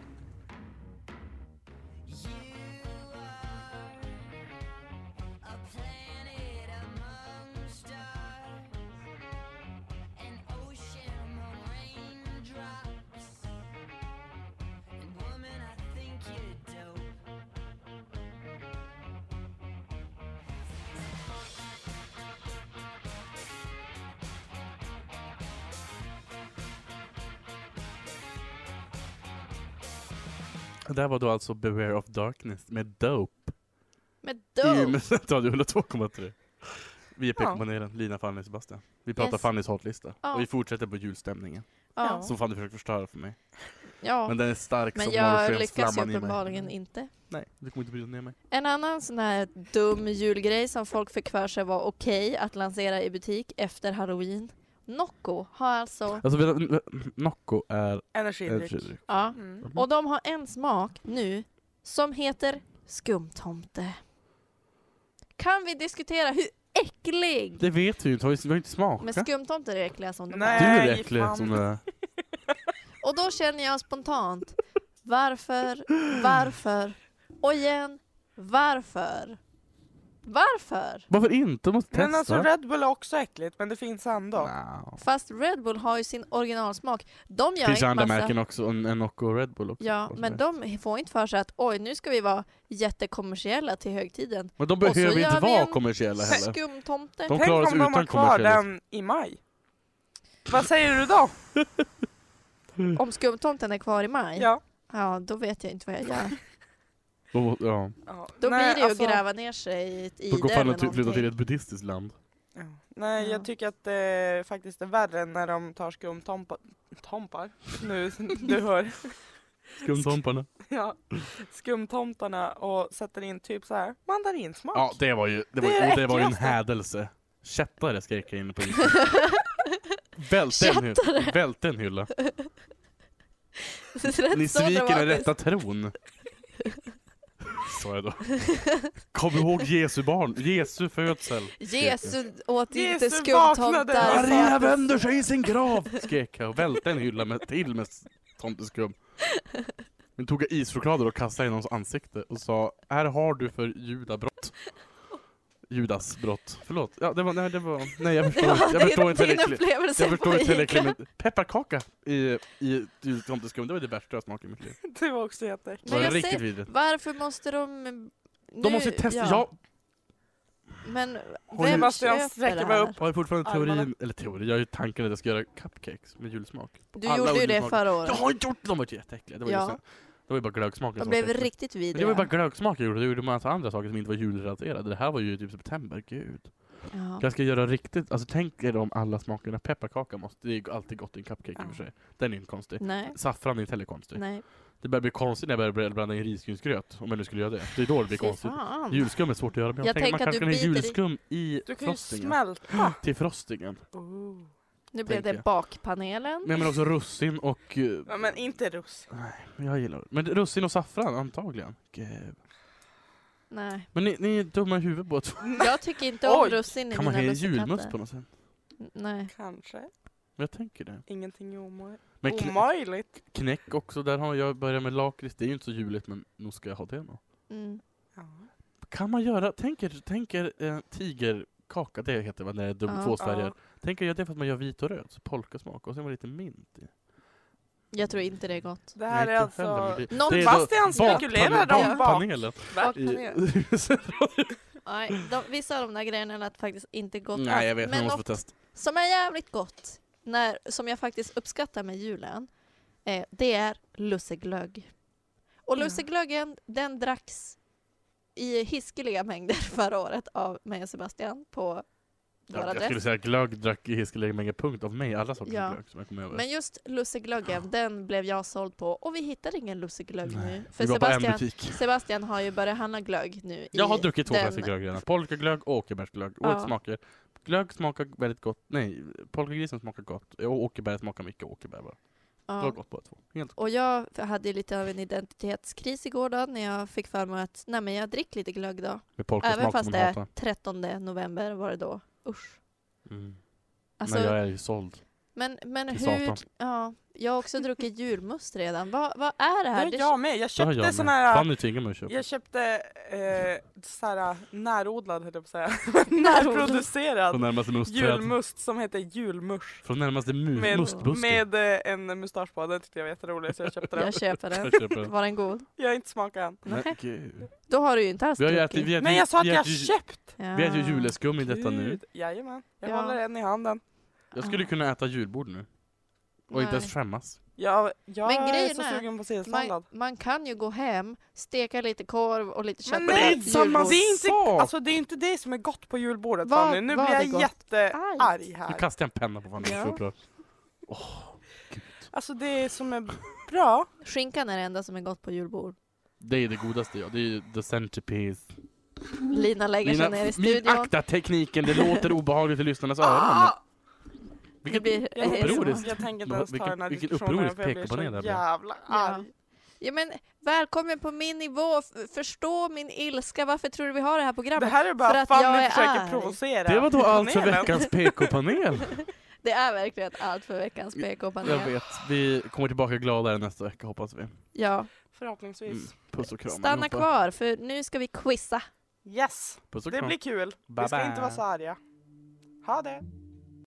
Speaker 3: Det där var då alltså Beware of Darkness med Dope.
Speaker 2: Med
Speaker 3: I
Speaker 2: dope!
Speaker 3: Umeås [LAUGHS] Radio 102,3. Vi är
Speaker 4: Ja.
Speaker 3: PK-panelen, Lina, Fanny och Sebastian. Vi pratar
Speaker 2: Yes.
Speaker 3: Fannys hotlista.
Speaker 2: Ja.
Speaker 3: Och vi fortsätter på julstämningen.
Speaker 2: Ja.
Speaker 3: Som Fanny försöker förstöra för mig.
Speaker 2: ja.
Speaker 3: Men
Speaker 2: Men,
Speaker 3: den är stark som
Speaker 2: jag lyckas ju
Speaker 3: morgonskensflamman i mig.
Speaker 2: uppenbarligen inte.
Speaker 3: Nej, du kommer inte bryta ner mig.
Speaker 2: En annan sån här dum julgrej som folk fick för sig var okej att lansera i butik efter halloween. Nocco har alltså,
Speaker 3: Alltså, vet du, Nocco är...
Speaker 4: Energidryck.
Speaker 2: ja.
Speaker 4: Mm.
Speaker 2: Och de har en smak nu som heter skumtomte. Kan vi diskutera hur äcklig?
Speaker 3: Det vet vi ju inte, har vi- vi har ju inte
Speaker 2: Men
Speaker 3: smakat.
Speaker 2: skumtomter är äckliga som de
Speaker 4: Nej.
Speaker 3: Du
Speaker 2: är.
Speaker 3: är
Speaker 4: Nej,
Speaker 3: äcklig
Speaker 4: fan.
Speaker 3: som du är.
Speaker 2: Och då känner jag spontant, varför, varför, och igen, varför? Varför?
Speaker 3: Varför inte? Du måste testa.
Speaker 4: Men alltså Red Bull är också äckligt, men det finns ändå.
Speaker 3: Nja.
Speaker 2: Fast Red Bull har ju sin originalsmak. De gör
Speaker 3: Finns
Speaker 2: inte
Speaker 3: andra
Speaker 2: massa...
Speaker 3: märken också, en en Nocco och Red Bull också.
Speaker 2: Ja,
Speaker 3: Varför
Speaker 2: men
Speaker 3: det?
Speaker 2: de får inte för sig att oj, nu ska vi vara jättekommersiella till högtiden.
Speaker 3: men de
Speaker 2: och så
Speaker 3: behöver
Speaker 2: gör
Speaker 3: inte
Speaker 2: vi
Speaker 3: vara
Speaker 2: en
Speaker 3: kommersiella heller.
Speaker 2: Skumtomte.
Speaker 3: De klarar
Speaker 4: Tänk
Speaker 3: sig
Speaker 4: om de har
Speaker 3: utan
Speaker 4: kvar
Speaker 3: kommersiella.
Speaker 4: den i maj. Vad säger du då?
Speaker 2: Om skumtomten är kvar i maj, ja.
Speaker 4: Ja.
Speaker 2: då vet jag inte vad jag gör.
Speaker 3: Då, ja.
Speaker 4: Ja.
Speaker 2: Då
Speaker 4: Nej,
Speaker 2: blir det ju
Speaker 4: alltså-
Speaker 2: att gräva ner sig i ett ide
Speaker 3: då går fan
Speaker 2: eller
Speaker 3: och ty- flyttar till
Speaker 2: någonting.
Speaker 3: ett buddhistiskt land.
Speaker 4: Ja. Nej,
Speaker 2: Ja.
Speaker 4: jag tycker att det faktiskt är värre när de tar skumtompa... Tompar? Nu, [LAUGHS] du hör.
Speaker 3: Skumtomparna.
Speaker 4: Ja. Skumtomtarna och sätter in typ så här mandarinsmak.
Speaker 3: Ja, det var ju, det var,
Speaker 4: Det
Speaker 3: ju-
Speaker 4: är
Speaker 3: och
Speaker 4: det
Speaker 3: det var ju en
Speaker 4: äckligaste.
Speaker 3: hädelse. Kättare skrek jag inne på
Speaker 4: [LAUGHS]
Speaker 3: isen. Välte en, hylla. Välte en hylla.
Speaker 2: [LAUGHS] Rätt
Speaker 3: Ni
Speaker 2: så
Speaker 3: sviker den
Speaker 2: dramatiskt.
Speaker 3: rätta
Speaker 4: [LAUGHS]
Speaker 3: tron. Sa jag då. Kom ihåg Jesu barn, Jesu födsel.
Speaker 2: Jesu åt inte
Speaker 4: Jesu vaknade.
Speaker 2: skumtomtar.
Speaker 4: Maria
Speaker 2: sa-
Speaker 3: vänder sig i sin grav! [LAUGHS] Skrek jag och välte en hylla med, till med s- tomteskum. Men tog jag ischoklader och kastade i någons ansikte och sa Här har du för judabrott. Judas brott. Förlåt. Ja, det var, nej, det var, nej jag förstår
Speaker 2: Ja,
Speaker 3: inte.
Speaker 2: det
Speaker 3: Jag
Speaker 2: är
Speaker 3: förstår inte
Speaker 2: din
Speaker 3: tillräckligt.
Speaker 2: upplevelse
Speaker 3: Jag förstår inte
Speaker 2: på
Speaker 3: tillräckligt.
Speaker 2: Ica.
Speaker 3: Men pepparkaka i, i, i tomteskum, det var det värsta jag smakat i mitt liv.
Speaker 4: [LAUGHS] Det var också jätteäckligt.
Speaker 3: Det var
Speaker 2: jag
Speaker 3: riktigt
Speaker 2: säger-
Speaker 3: vidrigt.
Speaker 2: Varför måste de... Nu,
Speaker 3: De måste ju testa, jag
Speaker 2: Men
Speaker 3: Oj,
Speaker 2: vem
Speaker 4: Sebastian
Speaker 2: köper det
Speaker 4: sträcker bara
Speaker 2: här?
Speaker 4: upp.
Speaker 3: har ju fortfarande
Speaker 4: Armarna.
Speaker 3: teorin, eller teori, jag har ju tanken att jag ska göra cupcakes med julsmak.
Speaker 2: Du
Speaker 3: Alla
Speaker 2: gjorde ju det
Speaker 3: oljemakare.
Speaker 2: förra
Speaker 3: Jag
Speaker 2: året.
Speaker 3: har inte gjort det! De var ju jätteäckliga. Det var,
Speaker 2: Ja.
Speaker 3: ju, så, det var ju bara glöggsmaken
Speaker 2: De
Speaker 3: som
Speaker 2: blev
Speaker 3: var äcklig.
Speaker 2: riktigt
Speaker 3: Men Det var
Speaker 2: vidriga.
Speaker 3: ju bara glögsmak jag gjorde, då gjorde man alltså andra saker som inte var julrelaterade. Det här var ju typ september, gud.
Speaker 2: Ja.
Speaker 3: Jag ska göra riktigt, alltså tänk er om alla smakerna. Pepparkaka måste, det är ju alltid gott i en cupcake i och för sig. Den är ju inte konstig.
Speaker 2: Nej.
Speaker 3: Saffran är inte heller konstig.
Speaker 2: Nej.
Speaker 3: Det börjar bli konstigt när jag börjar blanda in risgrynsgröt, om jag nu skulle göra det. Det är då det blir
Speaker 2: Fy
Speaker 3: konstigt.
Speaker 2: fan.
Speaker 3: Julskum är svårt att göra, men jag,
Speaker 2: Jag
Speaker 3: tänker man
Speaker 2: tänker att
Speaker 3: kanske
Speaker 2: du
Speaker 3: kan ha
Speaker 2: biter i-
Speaker 3: julskum i
Speaker 4: Du kan ju
Speaker 3: frostingen.
Speaker 4: smälta.
Speaker 3: Till frostingen.
Speaker 4: Oh.
Speaker 2: Nu blev
Speaker 3: tänker
Speaker 2: det
Speaker 3: jag.
Speaker 2: bakpanelen.
Speaker 3: Men, men också russin och... eh,
Speaker 4: Ja, men inte russin.
Speaker 3: Jag gillar Men russin och saffran, antagligen. Gud.
Speaker 2: Nej.
Speaker 3: Men ni, ni är dumma i huvudet båda två.
Speaker 4: Mm.
Speaker 2: Jag tycker inte om
Speaker 4: Oj.
Speaker 2: russin i
Speaker 3: Kan man
Speaker 2: mina
Speaker 3: ha en julmust
Speaker 2: lussekatter.
Speaker 3: på något sätt?
Speaker 2: Nej.
Speaker 4: Kanske.
Speaker 3: Men Jag tänker det.
Speaker 4: Ingenting är omö-
Speaker 3: Men knä,
Speaker 4: omöjligt.
Speaker 3: knäck också, där har jag börjat med lakrits. Det är ju inte så juligt men nog ska jag ha det nå.
Speaker 2: Mm.
Speaker 4: Ja.
Speaker 3: Kan man göra, tänker, tänker eh, tigerkaka, det heter vad när det är dum,
Speaker 2: Ja.
Speaker 3: två färger.
Speaker 4: Ja.
Speaker 3: Tänker jag det är för att man gör vit och röd, så polkasmak och sen var det lite mint i.
Speaker 2: Jag tror inte det är gott.
Speaker 4: Det här
Speaker 3: Nej,
Speaker 4: är
Speaker 3: inte själv,
Speaker 4: alltså...
Speaker 3: men det-
Speaker 2: Någon
Speaker 3: det är då
Speaker 4: Bastian
Speaker 3: bakpanel-
Speaker 4: spekulerar om bak...
Speaker 3: bakpanelen.
Speaker 4: Va?
Speaker 3: I- [LAUGHS]
Speaker 2: Nej, de, vissa av de där grejerna lät faktiskt inte gott alls.
Speaker 3: Nej jag vet, men
Speaker 2: Men
Speaker 3: man måste
Speaker 2: något
Speaker 3: få testa.
Speaker 2: som är jävligt gott, när, som jag faktiskt uppskattar med julen, eh, det är lusseglögg. Och
Speaker 4: Ja.
Speaker 2: lusseglöggen, den dracks i hiskeliga mängder [LAUGHS] förra året av mig och Sebastian på vår
Speaker 3: Jag, jag skulle
Speaker 2: adress.
Speaker 3: säga glögg drack i hiskelig mängd punkt av mig, alla sorters
Speaker 2: Ja.
Speaker 3: glögg som jag kommer över.
Speaker 2: Men just
Speaker 3: Ah.
Speaker 2: lusseglöggen, den blev jag såld på och vi hittar ingen lusseglögg nu. För
Speaker 3: Vi var på en
Speaker 2: Sebastian,
Speaker 3: butik.
Speaker 2: Sebastian har ju börjat handla glögg nu.
Speaker 3: Jag
Speaker 2: i
Speaker 3: har druckit två
Speaker 2: den-
Speaker 3: flaskor glögg redan. Polkaglögg och åkerbärsglögg.
Speaker 2: Ja.
Speaker 3: Åt smaker. Glögg smakar väldigt gott. Nej, polkagrisen smakar gott. Å- Åkerbär smakar mycket åkerbär bara. Det har
Speaker 2: Ja.
Speaker 3: gått båda två. Helt.
Speaker 2: Och jag hade ju lite av en identitetskris igår då när jag fick för mig att nej men jag dricker lite glögg då.
Speaker 3: Med polkasmak
Speaker 2: Även fast
Speaker 3: som
Speaker 2: det
Speaker 3: de
Speaker 2: är
Speaker 3: hatar.
Speaker 2: 13 november var det då. Usch.
Speaker 3: Mm.
Speaker 2: Alltså,
Speaker 3: Men jag är ju såld.
Speaker 2: men, men
Speaker 3: till
Speaker 2: hur...
Speaker 3: satan.
Speaker 2: Ja, jag har också druckit julmust redan. Vad vad är det
Speaker 4: Det
Speaker 2: här?
Speaker 4: är jag med. Jag
Speaker 3: Det har
Speaker 4: köpte
Speaker 3: jag med.
Speaker 4: sån här...
Speaker 3: Fanny tvingade mig att köpa.
Speaker 4: Jag köpte eh, så här, närodlad höll jag på att säga. [LAUGHS]
Speaker 3: Från
Speaker 4: Närproducerad
Speaker 3: närmaste mustträd.
Speaker 4: julmust som heter julmusch.
Speaker 3: Från närmaste mu-
Speaker 4: Med,
Speaker 3: Mm. mustbuske.
Speaker 4: med eh, en mustasch på. Den tyckte jag var jätterolig så jag köpte
Speaker 2: [LAUGHS]
Speaker 4: den.
Speaker 2: Jag köper den.
Speaker 3: Jag köper [LAUGHS]
Speaker 4: [LAUGHS]
Speaker 3: den.
Speaker 2: Var den god?
Speaker 4: Jag har inte smakat än.
Speaker 3: Men
Speaker 2: Nej.
Speaker 3: gud.
Speaker 2: Då har du ju inte alls
Speaker 3: Vi har ju
Speaker 2: druckit.
Speaker 3: ätit, vi äter,
Speaker 4: Men jag sa att
Speaker 3: vi
Speaker 4: jag
Speaker 3: äter ju-
Speaker 4: köpt!
Speaker 3: Vi äter ju
Speaker 2: Ja.
Speaker 3: juleskum i detta nu.
Speaker 4: Gud, Jajamän. Jag
Speaker 2: Ja.
Speaker 4: håller en i handen.
Speaker 3: Jag skulle
Speaker 2: Ah.
Speaker 3: kunna äta julbord nu. Och inte ens skämmas.
Speaker 4: Jag, jag
Speaker 2: Men
Speaker 4: är
Speaker 2: grejen
Speaker 4: så
Speaker 2: är-
Speaker 4: sugen på
Speaker 2: Man,
Speaker 4: sillsallad.
Speaker 2: man kan ju gå hem, steka lite korv och lite kött.
Speaker 4: Men
Speaker 2: och
Speaker 4: nej,
Speaker 2: äta
Speaker 4: som man
Speaker 2: julbord.
Speaker 4: det är inte,
Speaker 3: sa!
Speaker 4: alltså, det är inte det som är gott på julbordet
Speaker 2: Vad-
Speaker 4: Fanny. Nu
Speaker 2: vad
Speaker 4: blir
Speaker 2: är
Speaker 4: jag
Speaker 2: gott?
Speaker 4: jättearg
Speaker 3: Nu
Speaker 4: här.
Speaker 3: kastar jag en penna på Fanny.
Speaker 2: Ja.
Speaker 3: Ja. Åh, gud.
Speaker 4: Alltså det som är bra,
Speaker 2: Skinkan är det enda som är gott på julbord.
Speaker 3: Det är det godaste ja. Det är ju the centerpiece.
Speaker 2: Lina lägger sig ner i
Speaker 3: min
Speaker 2: studion. Ah,
Speaker 3: akta tekniken, det låter obehagligt i lyssnarnas öron.
Speaker 2: Det
Speaker 3: Vilket,
Speaker 2: blir
Speaker 4: Ah!
Speaker 2: [LAUGHS]
Speaker 4: jag,
Speaker 2: eh,
Speaker 4: tänker-
Speaker 3: upproriskt.
Speaker 4: jag tänker inte
Speaker 3: Vad-
Speaker 4: ens ta
Speaker 3: vilken-
Speaker 4: den här
Speaker 3: vilken
Speaker 4: diskussionen
Speaker 3: upprorisk
Speaker 4: för jag blir
Speaker 3: pekapinel
Speaker 4: så
Speaker 3: det blir.
Speaker 4: jävla
Speaker 2: Ja.
Speaker 4: arg.
Speaker 2: Ja, men, välkommen på min nivå, F- förstå min ilska, varför tror du vi har det här
Speaker 4: Det
Speaker 2: programmet?
Speaker 4: här är bara
Speaker 2: För att jag
Speaker 4: Fanny
Speaker 2: är
Speaker 4: försöker
Speaker 2: arg.
Speaker 4: provocera
Speaker 3: det var då allt för
Speaker 4: panelen.
Speaker 3: veckans
Speaker 2: [LAUGHS]
Speaker 3: PK-panel.
Speaker 2: Det är verkligen allt för veckans
Speaker 3: Jag
Speaker 2: PK-panel.
Speaker 3: vet, vi kommer tillbaka gladare nästa vecka hoppas vi.
Speaker 2: Ja,
Speaker 4: Förhoppningsvis.
Speaker 3: Mm. Puss och kram
Speaker 2: stanna
Speaker 3: allihopa.
Speaker 2: kvar för nu ska vi quizza.
Speaker 4: Yes,
Speaker 3: Puss och
Speaker 4: det
Speaker 3: kram.
Speaker 4: blir kul. Vi
Speaker 3: Bye
Speaker 4: ska
Speaker 3: bye.
Speaker 4: inte vara så arga. Ha det!